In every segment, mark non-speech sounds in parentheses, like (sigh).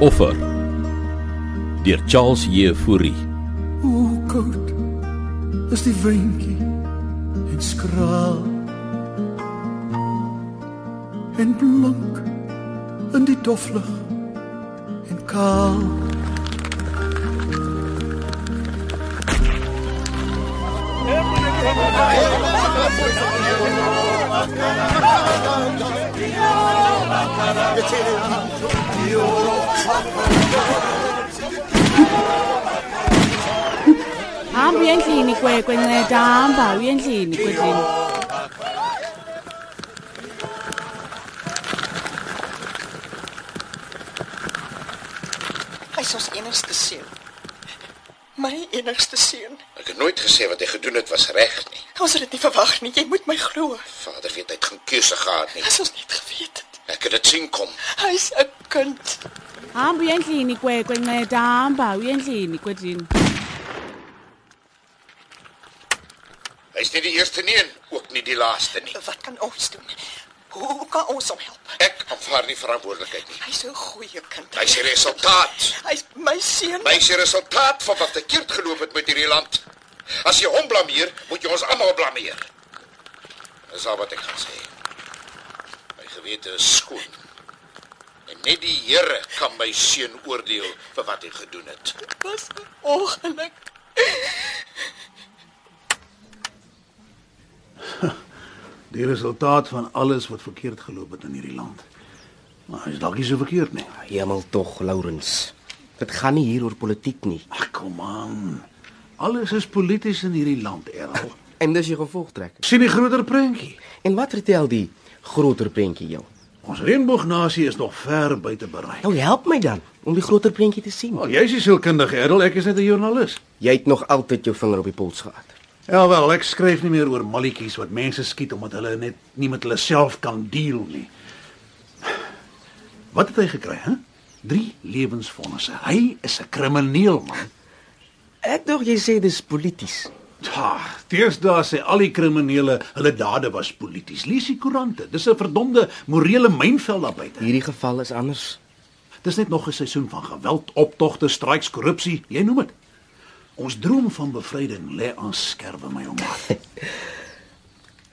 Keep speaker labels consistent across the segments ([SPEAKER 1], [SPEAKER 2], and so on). [SPEAKER 1] Offer deur Charles Jefouri.
[SPEAKER 2] Hoe koud is die windjie en skraal en blank in die doflig en kaal
[SPEAKER 3] hamba uye endlini kwekwe nceda hamba uye endlini kwedlini
[SPEAKER 4] Hy's ons enigste seun. My enigste seun.
[SPEAKER 5] Ek het nooit gesê wat hy gedoen het was reg nie.
[SPEAKER 4] Ons het dit nie verwag nie. Jy moet my glo.
[SPEAKER 5] Vader weet hy het geen keuse gehad nie.
[SPEAKER 4] As ons net geweet het.
[SPEAKER 5] Ek het dit sien kom.
[SPEAKER 4] Hy's 'n kind.
[SPEAKER 3] hamba uye endlini kwekwe nceda hamba uye endlini kwedlini
[SPEAKER 5] Hy's nie die eerste nie en ook nie die laaste nie.
[SPEAKER 4] Wat kan ons doen? Hoe kan ons hom help?
[SPEAKER 5] Ek aanvaar nie verantwoordelikheid nie.
[SPEAKER 4] Hy's 'n goeie kind.
[SPEAKER 5] Hy's die resultaat.
[SPEAKER 4] Hy's my seun.
[SPEAKER 5] Hy's die resultaat van wat verkeerd geloop het met hierdie land. As jy hom blameer, moet jy ons almal blameer. Dis al wat ek kan sê. My gewete is skoon. En net die Here kan my seun oordeel vir wat hy gedoen het.
[SPEAKER 4] Dit was 'n ongeluk.
[SPEAKER 2] die resultaat van alles wat verkeerd geloop het in hierdie land. Maar is dalk nie so verkeerd nie.
[SPEAKER 6] Hemel tog, Lawrence. Dit gaan nie hier oor politiek nie.
[SPEAKER 2] Ag kom aan. Alles is polities in hierdie land, Errol.
[SPEAKER 6] (laughs) En dis jy gevolgtrek.
[SPEAKER 2] sien die groter prentjie.
[SPEAKER 6] En wat vertel die groter prentjie jou?
[SPEAKER 2] Ons reënboognasie is nog ver buite bereik.
[SPEAKER 6] Nou help my dan om die groter prentjie te sien.
[SPEAKER 2] Wel, jy's nie sielkundig, Errol, ek is net 'n joernalis.
[SPEAKER 6] Jy het nog altyd jou vinger op die pols gehad.
[SPEAKER 2] Ja wel, ek skryf nie meer oor malletjies wat mense skiet omdat hulle net nie met hulle self kan deel nie. Wat het hy gekry, hè? 3 lewensvonnisse. Hy is 'n krimineel man.
[SPEAKER 6] Ek dink jy sê dis polities.
[SPEAKER 2] Ja, teesdae sê al die kriminele hulle dade was polities. Lees die koerante. Dis 'n verdomde morele mynveld daar buite.
[SPEAKER 6] Hierdie geval is anders.
[SPEAKER 2] Dis net nog 'n seisoen van geweld, optogte, stryks, korrupsie, jy noem dit. Ons droom van bevryding lê aan skerwe my
[SPEAKER 6] (laughs)
[SPEAKER 2] ouma.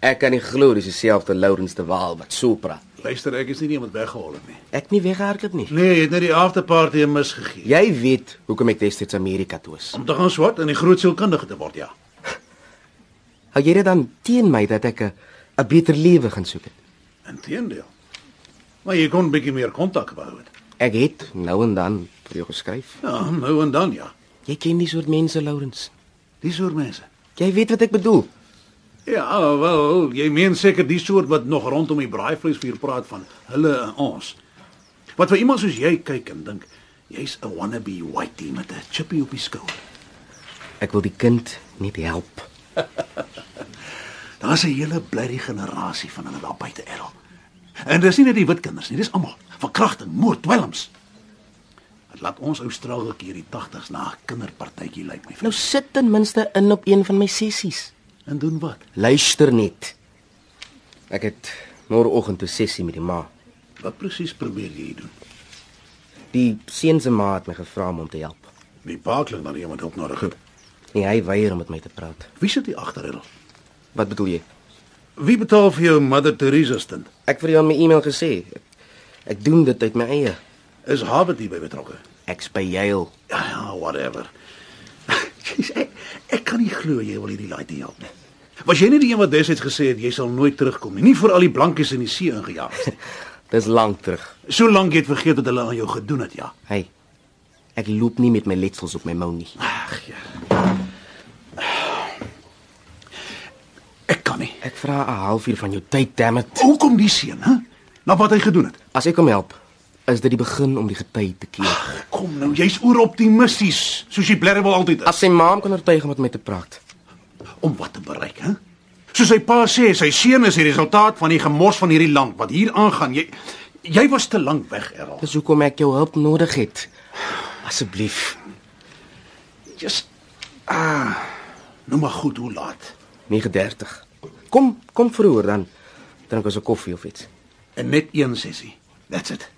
[SPEAKER 6] Ek kan nie glo dis dieselfde Lawrence de Waal wat so praat.
[SPEAKER 2] Luister, ek is nie iemand weggehol het nie.
[SPEAKER 6] Ek nie weggehardloop nie.
[SPEAKER 2] Nee, jy het net die afterparty in mis gegee.
[SPEAKER 6] Jy weet hoekom ek destyds Amerika toe is.
[SPEAKER 2] Om te gaan swat en 'n groot sielkundige te word, ja.
[SPEAKER 6] Hou jy dit dan teen my dat ek 'n 'n beter lewe gaan soek het?
[SPEAKER 2] Inteendeel. Maar jy kon 'n bietjie meer kontak behou het.
[SPEAKER 6] Ek het nou en dan vir jou geskryf.
[SPEAKER 2] Ja, nou en dan ja.
[SPEAKER 6] Jy ken die soort mense, Lawrence.
[SPEAKER 2] Dis oor mense.
[SPEAKER 6] Jy weet wat ek bedoel.
[SPEAKER 2] Ja, wel, jy meen seker die soort wat nog rondom die braaivleisvuur praat van hulle en ons. Wat vir iemand soos jy kyk en dink, jy's 'n wannabe whitey met 'n chippie op die skouer.
[SPEAKER 6] Ek wil die kind net help.
[SPEAKER 2] (laughs) Daar's 'n hele blerrie generasie van hulle daar buite Errol. En dis nie net die wit kinders nie, dis almal. Verkrachting, moord, dwelms. Dit laat ons Australië hier die 80's na 'n kinderpartytjie lyk my.
[SPEAKER 6] Nou
[SPEAKER 2] vriend.
[SPEAKER 6] sit ten minste in op een van my sessies.
[SPEAKER 2] En doen wat?
[SPEAKER 6] Luister net. Ek het môreoggend 'n sessie met die ma.
[SPEAKER 2] Wat presies probeer jy hier doen?
[SPEAKER 6] Die seun se ma het my gevra om hom te help.
[SPEAKER 2] Die paakling dan iemand op nodig het.
[SPEAKER 6] Nee, hy weier om met my te praat.
[SPEAKER 2] Wie sit hier agter Errol?
[SPEAKER 6] Wat bedoel jy?
[SPEAKER 2] Wie betaal vir jou Mother Teresa stand?
[SPEAKER 6] Ek het vir jou in my e-mail gesê. Ek, ek doen dit uit my eie.
[SPEAKER 2] Is Harvard hierby betrokke?
[SPEAKER 6] Ek's by Yale.
[SPEAKER 2] Ja, ja, whatever. (laughs) Jeez, ek, ek kan nie glo jy wil hierdie laaitie help nie. Was jy nie die een wat destyds gesê het jy sal nooit terugkom nie, nie vir al die blankes in die see ingejaag is nie.
[SPEAKER 6] (laughs) Dis lank terug.
[SPEAKER 2] Solank jy het vergeet wat hulle aan jou gedoen het, ja.
[SPEAKER 6] Hey. Ek loop nie met my letsels op my mou nie.
[SPEAKER 2] Ag ja. Ek kan nie.
[SPEAKER 6] Ek vra 'n halfuur van jou tyd, damn it.
[SPEAKER 2] Hoekom die seun, hè? Na wat hy gedoen het.
[SPEAKER 6] As ek hom help, is dit die begin om die gety te keer.
[SPEAKER 2] Kom nou, jy's oeroptimisties, soos jy blerrewel altyd is.
[SPEAKER 6] As sy ma kan oortuig om met my te praat.
[SPEAKER 2] om wat te bereik, hè? Soos sy pa sê, sy seun is die resultaat van die gemos van hierdie land wat hier aangaan. Jy jy was te lank weg, Errol.
[SPEAKER 6] Dis hoekom ek jou hulp nodig het. Asseblief,
[SPEAKER 2] Just ah, nou maar goed hoe laat.
[SPEAKER 6] 9:30. Kom, kom vroeër dan drink ons 'n koffie of iets.
[SPEAKER 2] En net een sessie. That's it.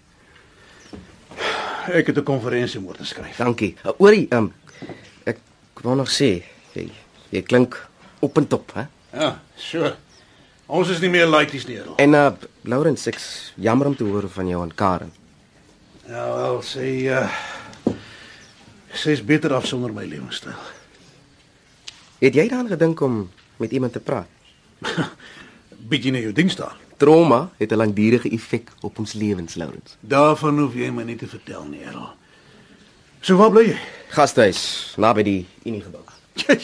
[SPEAKER 2] Ek het 'n konferensie moet skryf.
[SPEAKER 6] Dankie. Uh, Oorie, ehm ek wou nog sê, jy, jy klink op en top, hè?
[SPEAKER 2] Ja, sure. Ons is nie meer laities nie, Errol.
[SPEAKER 6] En uh Lawrence, ek's jammer om te hoor van jou en Karen.
[SPEAKER 2] Ja, wel, sy uh sy is beter af sonder my lewenstyl.
[SPEAKER 6] Het jy daaraan gedink om met iemand te praat?
[SPEAKER 2] Bietjie na jou diens daar.
[SPEAKER 6] Trauma het 'n langdurige effek op ons lewens, Lawrence.
[SPEAKER 2] Daarvan hoef jy my nie te vertel nie, Errol. So waar bly jy?
[SPEAKER 6] Gasthuis naby die Unie gebou.
[SPEAKER 2] Jy,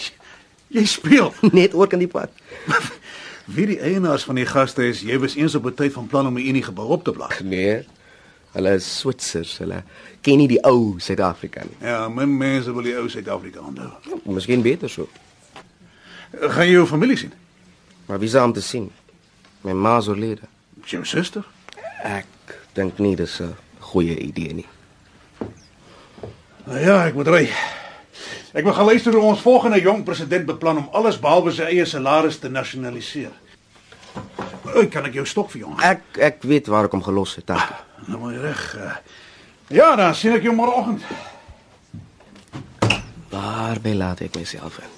[SPEAKER 2] jy speel.
[SPEAKER 6] (laughs) Net oor kan die pad.
[SPEAKER 2] (laughs) Wie die eienaars van die gaste is, jy was eens op 'n tyd van plan om 'n unie gebou op te blaas.
[SPEAKER 6] Nee. Hulle is Switsers, hulle ken nie die ou Suid-Afrika nie.
[SPEAKER 2] Ja, min mense wil die ou Suid-Afrika onthou.
[SPEAKER 6] Miskien beter so.
[SPEAKER 2] Eh, Gaan jy jou familie sien?
[SPEAKER 6] Maar wie saam te sien? My ma is oorlede.
[SPEAKER 2] Jou suster?
[SPEAKER 6] Ek dink nie dis 'n goeie idee nie.
[SPEAKER 2] Nou ja, ek moet ry. Ek wil gaan luister hoe ons volgende jong president beplan om alles behalwe sy eie salaris te nasionaliseer. Ek kan ek jou stok vir jong.
[SPEAKER 6] Ek ek weet waar ek hom gelos het, dankie.
[SPEAKER 2] Nou maar reg. eh. Ja, dan sien ek jou môreoggend.
[SPEAKER 6] Waarby laat ek myself in?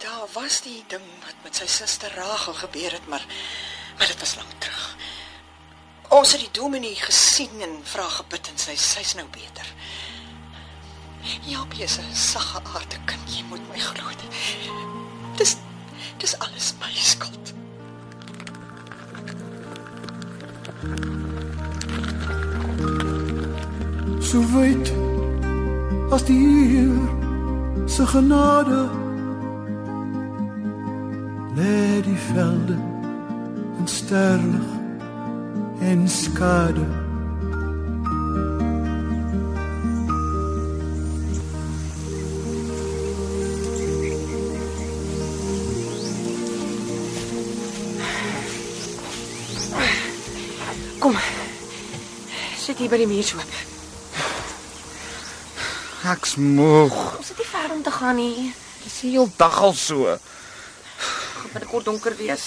[SPEAKER 7] Daar was die ding wat met sy suster Rachel gebeur het, maar maar dit was lank terug. Ons het die dominee gesien en vra gebid en sy sy's nou beter. Jaapie is 'n sagge aarde kind, jy moet my glo. Dis dis alles my skuld.
[SPEAKER 8] so wyd as die uur se genade lê die velde in sterlig en skade
[SPEAKER 7] Kom. Sit hier by die muur so.
[SPEAKER 8] ek's moeg
[SPEAKER 7] Ons het nie ver om te gaan nie.
[SPEAKER 8] dis die heel dag al so
[SPEAKER 7] Gaan dit kort donker wees.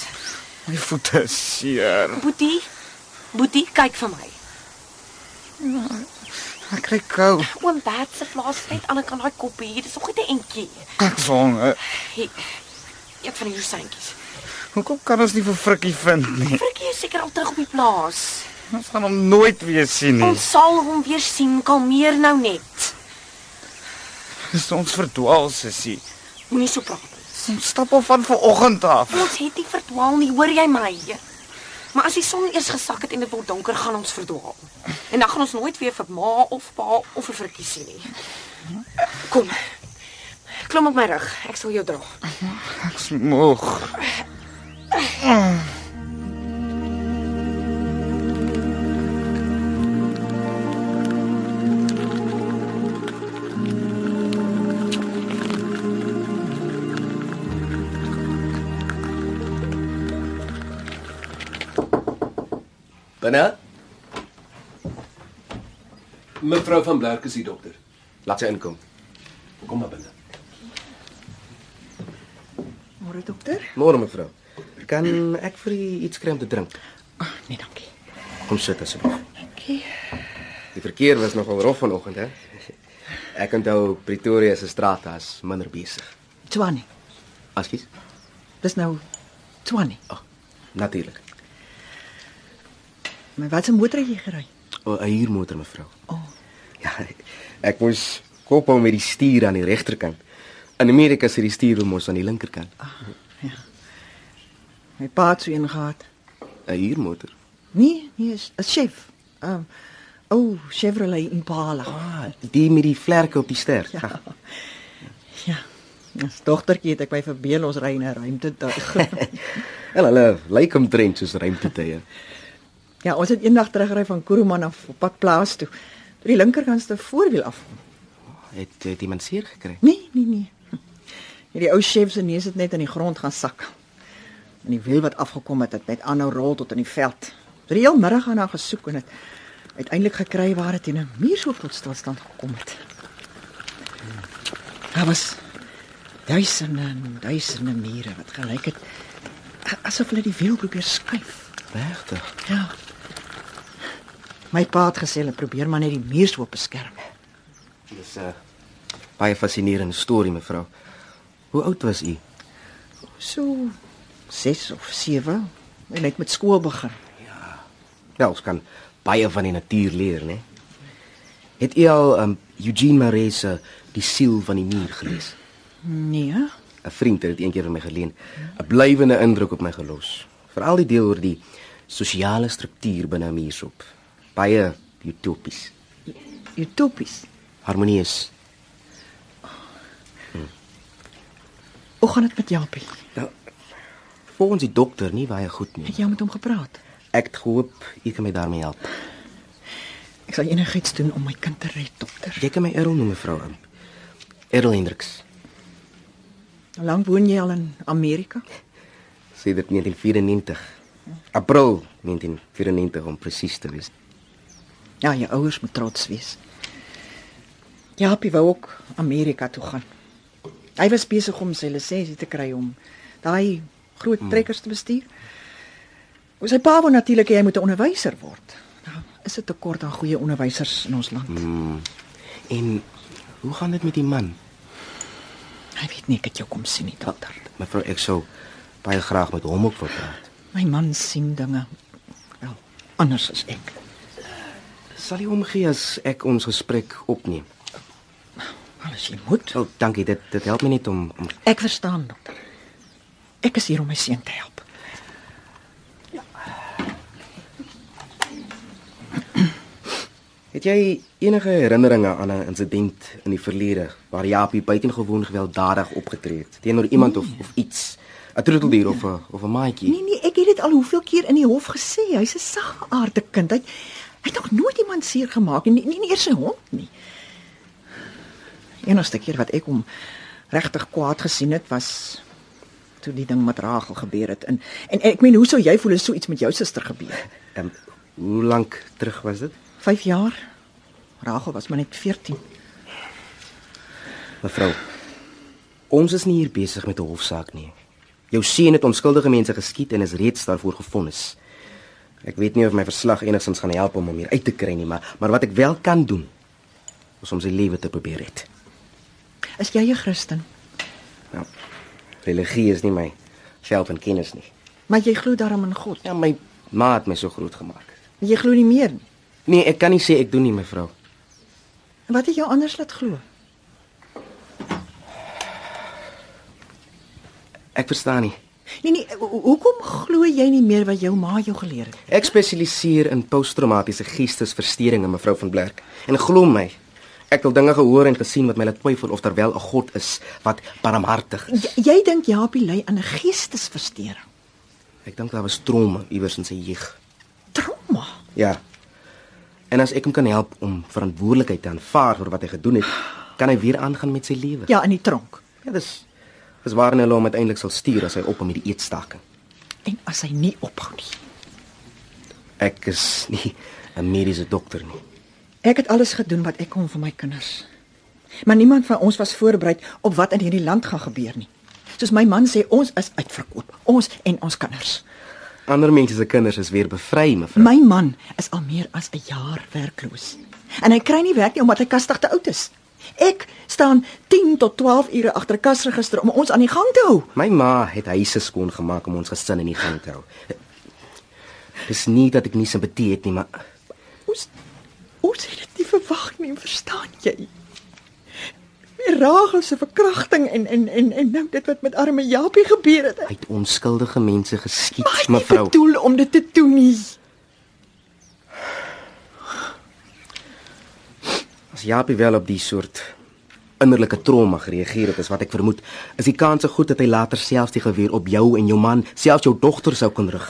[SPEAKER 8] my voete is seer
[SPEAKER 7] Boetie, Boetie, kyk vir my.
[SPEAKER 8] ek kry kou
[SPEAKER 7] Oom Bert se plaas net aan die kant daai koppie. Dit is nog net 'n entjie.
[SPEAKER 8] ek's honger
[SPEAKER 7] Hey, ek van die roosantjies.
[SPEAKER 8] hoekom kan ons nie vir Frikkie vind nie
[SPEAKER 7] Frikkie is seker al terug op die plaas.
[SPEAKER 8] ons gaan hom nooit weer sien nie
[SPEAKER 7] Ons sal hom weer sien. Kalmeer nou net.
[SPEAKER 8] dis ons verdwaal sussie
[SPEAKER 7] Moenie so praat. nie.
[SPEAKER 8] ons stap al van vanoggend af
[SPEAKER 7] Ons het nie verdwaal nie, hoor jy my? Maar as die son eers gesak het en dit word donker, gaan ons verdwaal. En dan gaan ons nooit weer vir ma of pa of vir Frikkie sien nie. Kom. Klim op my rug. Ek sal jou dra.
[SPEAKER 8] ek's moeg
[SPEAKER 6] Binne,
[SPEAKER 9] Mevrou van Blerk is die dokter.
[SPEAKER 6] laat sy inkom.
[SPEAKER 9] Kom maar binne.
[SPEAKER 7] Môre dokter?
[SPEAKER 6] Môre mevrou. Kan ek vir u iets kry om te drink?
[SPEAKER 7] Ah, Nee, dankie.
[SPEAKER 6] Kom sit asseblief.
[SPEAKER 7] Dankie.
[SPEAKER 6] Die verkeer was nogal rof vanoggend, hè? Ek onthou Pretoria se strate as minder besig.
[SPEAKER 4] Twani.
[SPEAKER 6] Askies?
[SPEAKER 4] Dis nou Twani.
[SPEAKER 6] Ag, natuurlik.
[SPEAKER 4] Maar wat 'n motor het jy gery?
[SPEAKER 6] O, 'n huurmotor mevrou.
[SPEAKER 4] O.
[SPEAKER 6] Ja, ek moes koppel met die stuur aan die regterkant. In Amerika sit die stuur mos aan die linkerkant.
[SPEAKER 7] Ah.
[SPEAKER 4] Ah, ja. My pa het so een gehad.
[SPEAKER 6] 'n Huurmotor.
[SPEAKER 4] Nee, nee, is 'n chef. Um o, oh, Chevrolet Impala.
[SPEAKER 6] Ah, die met die vlerke op die ster.
[SPEAKER 4] Ja. Ja. Ons dogtertjie het ek by verbeel ons ry in 'n (laughs) ruimtetuig.
[SPEAKER 6] En hulle lyk omtrent soos ruimtetuie.
[SPEAKER 4] ja, ons het eendag teruggery van Kuruman af op pad plaas toe. Toe die linkerkantste voorwiel af.
[SPEAKER 6] Het, het iemand seer gekry?
[SPEAKER 4] Nee, nee, nee. Hierdie ou chef se neus het net in die grond gaan sak. En die wiel wat afgekom het, het net aanhou rol tot in die veld. Vir die hele middag aan haar gesoek en het uiteindelik gekry waar dit in 'n muur so tot stilstand gekom het. Daar was duisende en duisende mure wat gelyk het a- asof hulle die wiel probeer skuif.
[SPEAKER 6] Regtig?
[SPEAKER 4] Ja. My pa het gesê hulle probeer maar net die muurshoop beskerm.
[SPEAKER 6] Dis 'n baie fascinerende storie, mevrou. Hoe oud was u?
[SPEAKER 4] So 6 of 7 en net met skool begin.
[SPEAKER 6] Ja, ons kan baie van die natuur leer, né? Het u al um, Eugene Maree se Die siel van die muur gelees?
[SPEAKER 4] Nee. hè?
[SPEAKER 6] 'n Vriend het dit eendag aan my geleen. 'n Blywende indruk op my gelos. Veral die deel oor die sosiale struktuur binne 'n muursop. Baie utopies.
[SPEAKER 4] Utopies.
[SPEAKER 6] Harmonie is
[SPEAKER 4] Hm. Hoe gaan dit met Japie?
[SPEAKER 6] nou, volgens die dokter nie baie goed nie.
[SPEAKER 4] Het jy met hom gepraat?
[SPEAKER 6] Ek het gehoop u kan my daarmee help.
[SPEAKER 4] Ek sal enigiets doen om my kind te red, dokter.
[SPEAKER 6] Jy kan my Errol noem, mevrou. um, Errol Hendriks.
[SPEAKER 4] Hoe lank woon jy al in Amerika?
[SPEAKER 6] Sedert 1994. April 1994 om presies te wees.
[SPEAKER 4] Ja, jou ouers moet trots wees. Japie wou ook Amerika toe gaan. Hy was besig om sy lisensie te kry om daai groot trekkers te bestuur. O, sy pa wou natuurlik hê hy moet 'n onderwyser word. Nou, is dit tekort aan goeie onderwysers in ons land.
[SPEAKER 6] Hmm. En hoe gaan dit met die man?
[SPEAKER 4] Hy weet nie ek het jou kom sien nie, dokter.
[SPEAKER 6] Ah, Mevrou, ek sou baie graag met hom ook wil praat.
[SPEAKER 4] My man sien dinge wel anders as ek.
[SPEAKER 6] Sal jy omgee as ek ons gesprek opneem?
[SPEAKER 4] Alles jy moet.
[SPEAKER 6] Wel, dankie. Dit dit help my net om om
[SPEAKER 4] Ek verstaan, dokter. Ek is hier om my seun te help.
[SPEAKER 6] Het jy enige herinneringe aan 'n insident in die verlede waar Japie buitengewoon gewelddadig opgetree het teenoor iemand of of iets? 'n Troeteldier of 'n of 'n maatjie?
[SPEAKER 4] Nee nee, ek het dit al hoeveel keer in die hof gesê. Hy's 'n saggeaarde kind. Hy hy het nog nooit iemand seer gemaak nie, nie, nie eers 'n hond nie. Enigste keer wat ek hom regtig kwaad gesien het was toe die ding met Rachel gebeur het. En en ek meen, hoe sou jy voel as so iets met jou suster gebeur het?
[SPEAKER 6] En Ehm, hoe lank terug was dit?
[SPEAKER 4] 5 jaar. Rachel was maar net 14.
[SPEAKER 6] Mevrou, ons is nie hier besig met 'n hofsaak nie. Jou seun het onskuldige mense geskiet en is reeds daarvoor gefonnis. Ek weet nie of my verslag enigstens gaan help om hom hier uit te kry nie, maar maar wat ek wel kan doen is om sy lewe te probeer red.
[SPEAKER 4] Is jy 'n Christen?
[SPEAKER 6] Nou, religie is nie my veld van kennis nie.
[SPEAKER 4] Maar jy glo daarom in God.
[SPEAKER 6] Ja, my ma het my so groot gemaak.
[SPEAKER 4] Jy glo nie meer nie.
[SPEAKER 6] Nee, ek kan nie sê ek doen nie, mevrou.
[SPEAKER 4] En wat het jou anders laat glo?
[SPEAKER 6] Ek verstaan nie.
[SPEAKER 4] Nee nee, ho- ho- hoekom glo jy nie meer wat jou ma jou geleer het?
[SPEAKER 6] Ek spesialiseer in posttraumatiese geestesversteuringe, mevrou van Blerk. En glo my, ek het dinge gehoor en gesien wat my laat twyfel of daar wel 'n God is wat barmhartig is.
[SPEAKER 4] J jy dink Japie ly aan 'n geestesversteuring.
[SPEAKER 6] Ek dink daar was trauma iewers in sy jeug.
[SPEAKER 4] Trauma.
[SPEAKER 6] Ja. En as ek hom kan help om verantwoordelikheid te aanvaar vir wat hy gedoen het, kan hy weer aangaan met sy lewe.
[SPEAKER 4] Ja, in die tronk.
[SPEAKER 6] ja dis dis waarna hulle hom uiteindelik sal stuur as hy op met die eetstaking.
[SPEAKER 4] En as hy nie ophou nie.
[SPEAKER 6] Ek is nie 'n mediese dokter nie.
[SPEAKER 4] Ek het alles gedoen wat ek kon vir my kinders. Maar niemand van ons was voorberei op wat in hierdie land gaan gebeur nie. Soos my man sê, ons is uitverkoop, ons en ons kinders.
[SPEAKER 6] Ander mense se kinders is weer bevry, mevrou.
[SPEAKER 4] My man is al meer as 'n jaar werkloos. En hy kry nie werk nie omdat hy kastig te oud is. Ek staan 10 tot 12 ure agter 'n kasregister om ons aan die gang te hou.
[SPEAKER 6] My ma het huise skoon gemaak om ons gesin in die gang te hou. Dis nie dat ek nie simpatie het nie, maar
[SPEAKER 4] Ons ons het dit nie verwag nie, verstaan jy? Weer Rachel se verkrachting en en en en nou dit wat met arme Japie gebeur het.
[SPEAKER 6] hy het onskuldige mense geskiet,
[SPEAKER 4] Maar hy het nie
[SPEAKER 6] mevrou.
[SPEAKER 4] bedoel om dit te doen nie.
[SPEAKER 6] As Japie wel op die soort innerlike trauma gereageer het, is wat ek vermoed, is die kans so goed dat hy later selfs die geweer op jou en jou man, selfs jou dogter sou kon rig.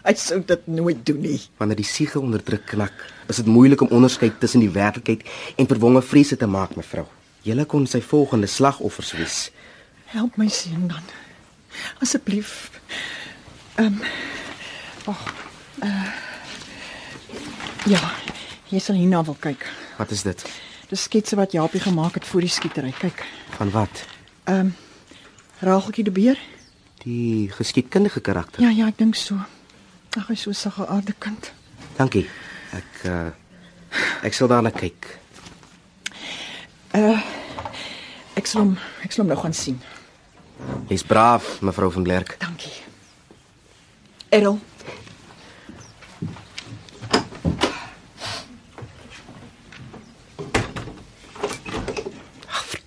[SPEAKER 4] Hy sou dit nooit doen nie.
[SPEAKER 6] Wanneer die siege onder druk knak, is dit moeilik om onderskeid tussen die werklikheid en verwonge vrese te maak, mevrou. Julle kon sy volgende slagoffers wees.
[SPEAKER 4] Help my seun dan. Asseblief. Ehm um, Wag. Uh, ja, jy sal hierna wil kyk.
[SPEAKER 6] Wat is dit?
[SPEAKER 4] Dis sketse wat Japie gemaak het voor die skietery. Kyk.
[SPEAKER 6] Van wat?
[SPEAKER 4] Ehm um, Rageltjie de Beer?
[SPEAKER 6] Die geskiedkundige karakter.
[SPEAKER 4] Ja ja, ek dink so. Ag, hy's so 'n saggeaarde kind.
[SPEAKER 6] Dankie. Ek uh ek sal daarna kyk.
[SPEAKER 4] Eh, Ek sal hom ek sal hom nou gaan sien.
[SPEAKER 6] Jy's braaf, mevrou van Blerk.
[SPEAKER 4] Dankie. Errol,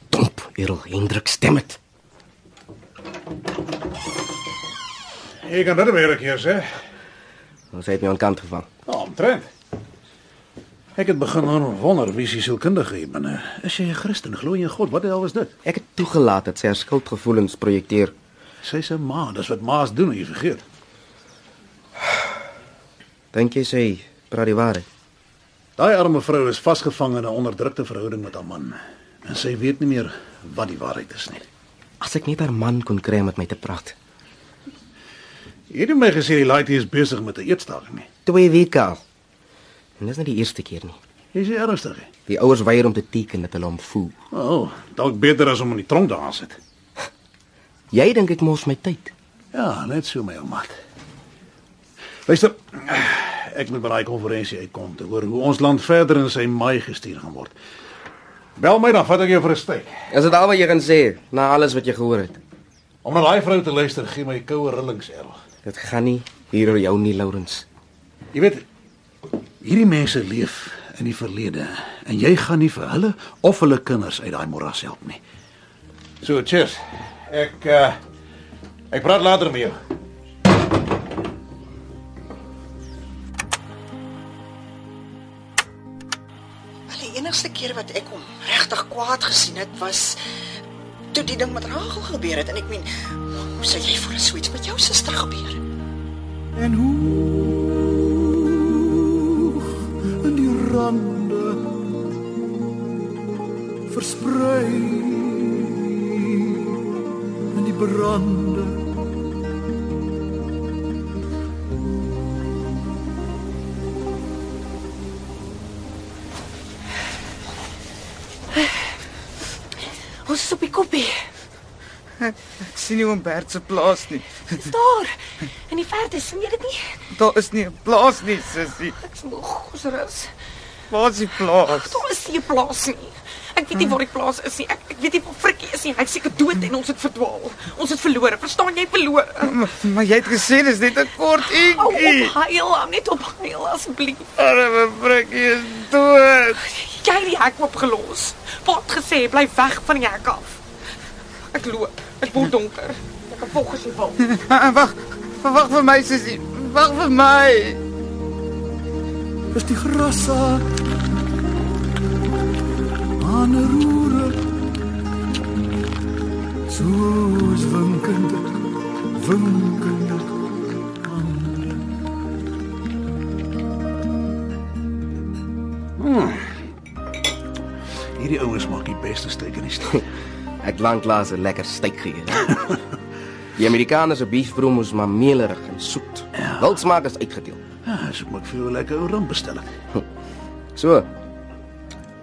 [SPEAKER 6] Domp, Nou, Errol Hendrik stem dit.
[SPEAKER 2] Jy kan dit werk hier sê.
[SPEAKER 6] Ons het my aan kant gevang.
[SPEAKER 9] Ja,
[SPEAKER 2] Nou, omtrent. Ek het begin wonder wie sy sielkundige hier binne. Is jy 'n Christen? Glo jy in God? Wat die hel is dit?
[SPEAKER 6] Ek het toegelaat dat sy haar skuldgevoelens projekteer.
[SPEAKER 2] Sy's 'n ma, dis wat ma's doen, jy vergeet.
[SPEAKER 6] Dink jy sy praat die waarheid?
[SPEAKER 2] Daai arme vrou is vasgevang in 'n onderdrukte verhouding met haar man en sy weet nie meer wat die waarheid is nie.
[SPEAKER 6] As ek net haar man kon kry om met my te praat.
[SPEAKER 2] Jy het nie my gesê die laaitie is besig met 'n eetstaking nie.
[SPEAKER 6] 2 weke al. En dis nie die eerste keer nie.
[SPEAKER 2] Jy's nie ernstig nie.
[SPEAKER 6] Die ouers weier om te teken dat hulle hom voel.
[SPEAKER 2] O, oh, dalk beter as om in die tronk te gaan sit.
[SPEAKER 6] Jy dink ek mors my tyd.
[SPEAKER 2] Ja, net so
[SPEAKER 6] nee,
[SPEAKER 2] my ouma. Luister, ek moet by daai konferensie uitkom te hoor hoe ons land verder in sy maai gestuur gaan word. Bel my dan, vat ek jou vir 'n steek.
[SPEAKER 6] Is dit al wat jy kan sê na alles wat jy gehoor het?
[SPEAKER 2] Om na daai vrou te luister gee my koue rillings erg.
[SPEAKER 6] Dit gaan nie hier oor jou nie, Lawrence.
[SPEAKER 2] Jy weet, hierdie mense leef in die verlede en jy gaan nie vir hulle of hulle kinders uit daai moras help nie. So, cheers. Ek uh, ek praat later met jou.
[SPEAKER 7] Wel, Die enigste keer wat ek hom regtig kwaad gesien het was toe die ding met Rachel gebeur het en ek meen, hoe sou jy vir so iets met jou suster gebeur?
[SPEAKER 2] en hoog in die rande versprei in die brande
[SPEAKER 7] Ons is op die koppie.
[SPEAKER 8] Ek sien nie oom Bert se plaas nie.
[SPEAKER 7] Dis daar. In die verte sien jy dit nie?
[SPEAKER 8] Daar is nie 'n plaas nie, sussie.
[SPEAKER 7] Ek's moeg, ons rus.
[SPEAKER 8] Waar is die plaas?
[SPEAKER 7] Daar is nie 'n plaas nie. Ek weet nie waar die plaas is nie. Ek, ek weet nie waar Frikkie is nie. Hy's seker dood en ons het verdwaal. Ons het verlore. Verstaan jy verlore?
[SPEAKER 8] Maar, maar jy het gesê dis net 'n kort
[SPEAKER 7] Hou
[SPEAKER 8] uurtjie.
[SPEAKER 7] op, huil, hom net op huil asseblief.
[SPEAKER 8] Arme Frikkie is dood.
[SPEAKER 7] Jy het die hek oopgelos. Wat gesê, bly weg van die hek af. Ek loop. Dit word donker. Ek kan volg as jy wil.
[SPEAKER 8] Ah, Wag, wag vir my sussie. Wag vir my.
[SPEAKER 2] is die grasse aan 'n roere soos winkende winkende hande. Hmm. Hierdie ouens maak die beste steek in die stad.
[SPEAKER 6] Ek lank laas 'n lekker steak geëet. Die Amerikaners se beef broom is maar meelerig en soet. Ja. Wildsmaak is uitgedeel.
[SPEAKER 2] Ja, so moet ek vir jou 'n lekker ou rum bestel. het.
[SPEAKER 6] So.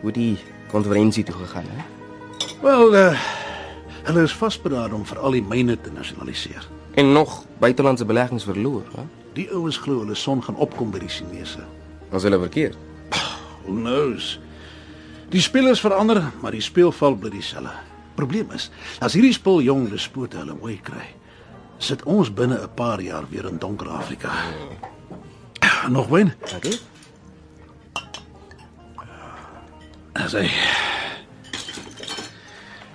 [SPEAKER 6] Hoe die konferensie toe gegaan, hè?
[SPEAKER 2] Wel, uh, hulle is vasberaad om vir al die myne te nasionaliseer.
[SPEAKER 6] En nog buitelandse beleggings verloor, hè?
[SPEAKER 2] Die ouens glo hulle son gaan opkom by die Chinese.
[SPEAKER 6] Was hulle verkeerd?
[SPEAKER 2] Who knows? Die spelers verander, maar die speelveld bly dieselfde. Probleem is, as hierdie spul jong despote hulle mooi kry, sit ons binne 'n paar jaar weer in donker Afrika. Nog wen?
[SPEAKER 6] Okay.
[SPEAKER 2] As hy.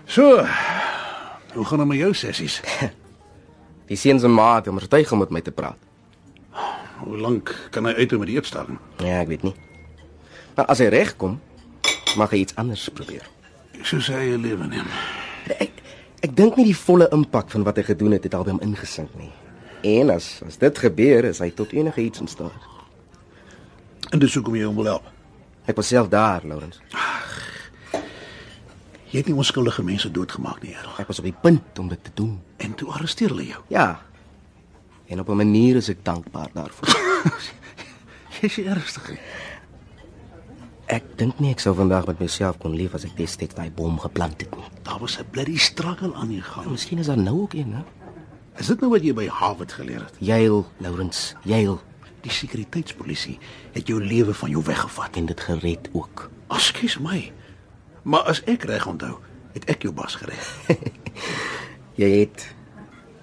[SPEAKER 2] So. Hoe gaan dit met jou sessies?
[SPEAKER 6] (laughs) Die seuns en ma het hom oortuig om met my te praat.
[SPEAKER 2] Hoe lank kan hy uithou met die eetstaking?
[SPEAKER 6] Ja, ek weet nie. Maar as hy regkom, mag hy iets anders probeer.
[SPEAKER 2] Soos hy hy lewe neem.
[SPEAKER 6] Ek ek dink nie die volle impak van wat hy gedoen het het al by hom ingesink nie. En as as dit gebeur, is hy tot enige iets in staat.
[SPEAKER 2] En dis hoekom jy hom wil help.
[SPEAKER 6] Ek was self daar, Lawrence.
[SPEAKER 2] Jy het nie onskuldige mense doodgemaak nie, Errol.
[SPEAKER 6] Ek was op die punt om dit te doen.
[SPEAKER 2] En toe arresteer hulle jou.
[SPEAKER 6] Ja. En op 'n manier is ek dankbaar daarvoor.
[SPEAKER 2] (laughs) Jy's nie ernstig nie.
[SPEAKER 6] ek dink nie ek sou vandag met myself kon leef as ek destyds daai bom geplant het nie.
[SPEAKER 2] Daar was 'n bloody struggle aan die gang.
[SPEAKER 6] Miskien is daar nou ook een, hè?
[SPEAKER 2] Is dit nou wat jy by Harvard geleer het?
[SPEAKER 6] Jail, Lawrence, jail.
[SPEAKER 2] die sekuriteitspolisie het jou lewe van jou weggevat.
[SPEAKER 6] en dit gered ook.
[SPEAKER 2] Ekskuus my. Maar as ek reg onthou, het ek jou bas gereg.
[SPEAKER 6] (laughs) Jy het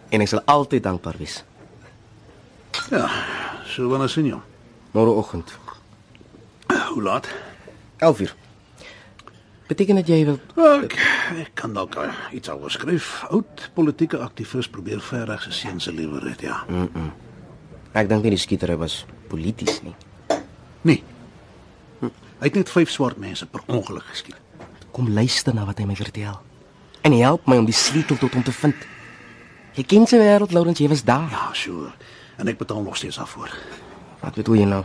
[SPEAKER 6] en ek sal altyd dankbaar wees.
[SPEAKER 2] Ja, so wanneer sien jou?
[SPEAKER 6] Môreoggend,
[SPEAKER 2] (clears throat) Hoe laat?
[SPEAKER 6] 11uur. Beteken dit jy wil
[SPEAKER 2] Ek, ek kan dalk eh, iets oor skryf. Oud politieke aktivis probeer verregs se seun se lewe red, ja.
[SPEAKER 6] Ek dink nie die skietery was polities nie.
[SPEAKER 2] Nee. Hy het net vyf swart mense per ongeluk geskiet.
[SPEAKER 6] Kom luister na wat hy my vertel. En help my om die sleutel tot hom te vind. Jy ken sy wêreld, Lawrence, jy was daar.
[SPEAKER 2] Ja, sure. En ek betaal nog steeds daarvoor.
[SPEAKER 6] Wat bedoel jy nou?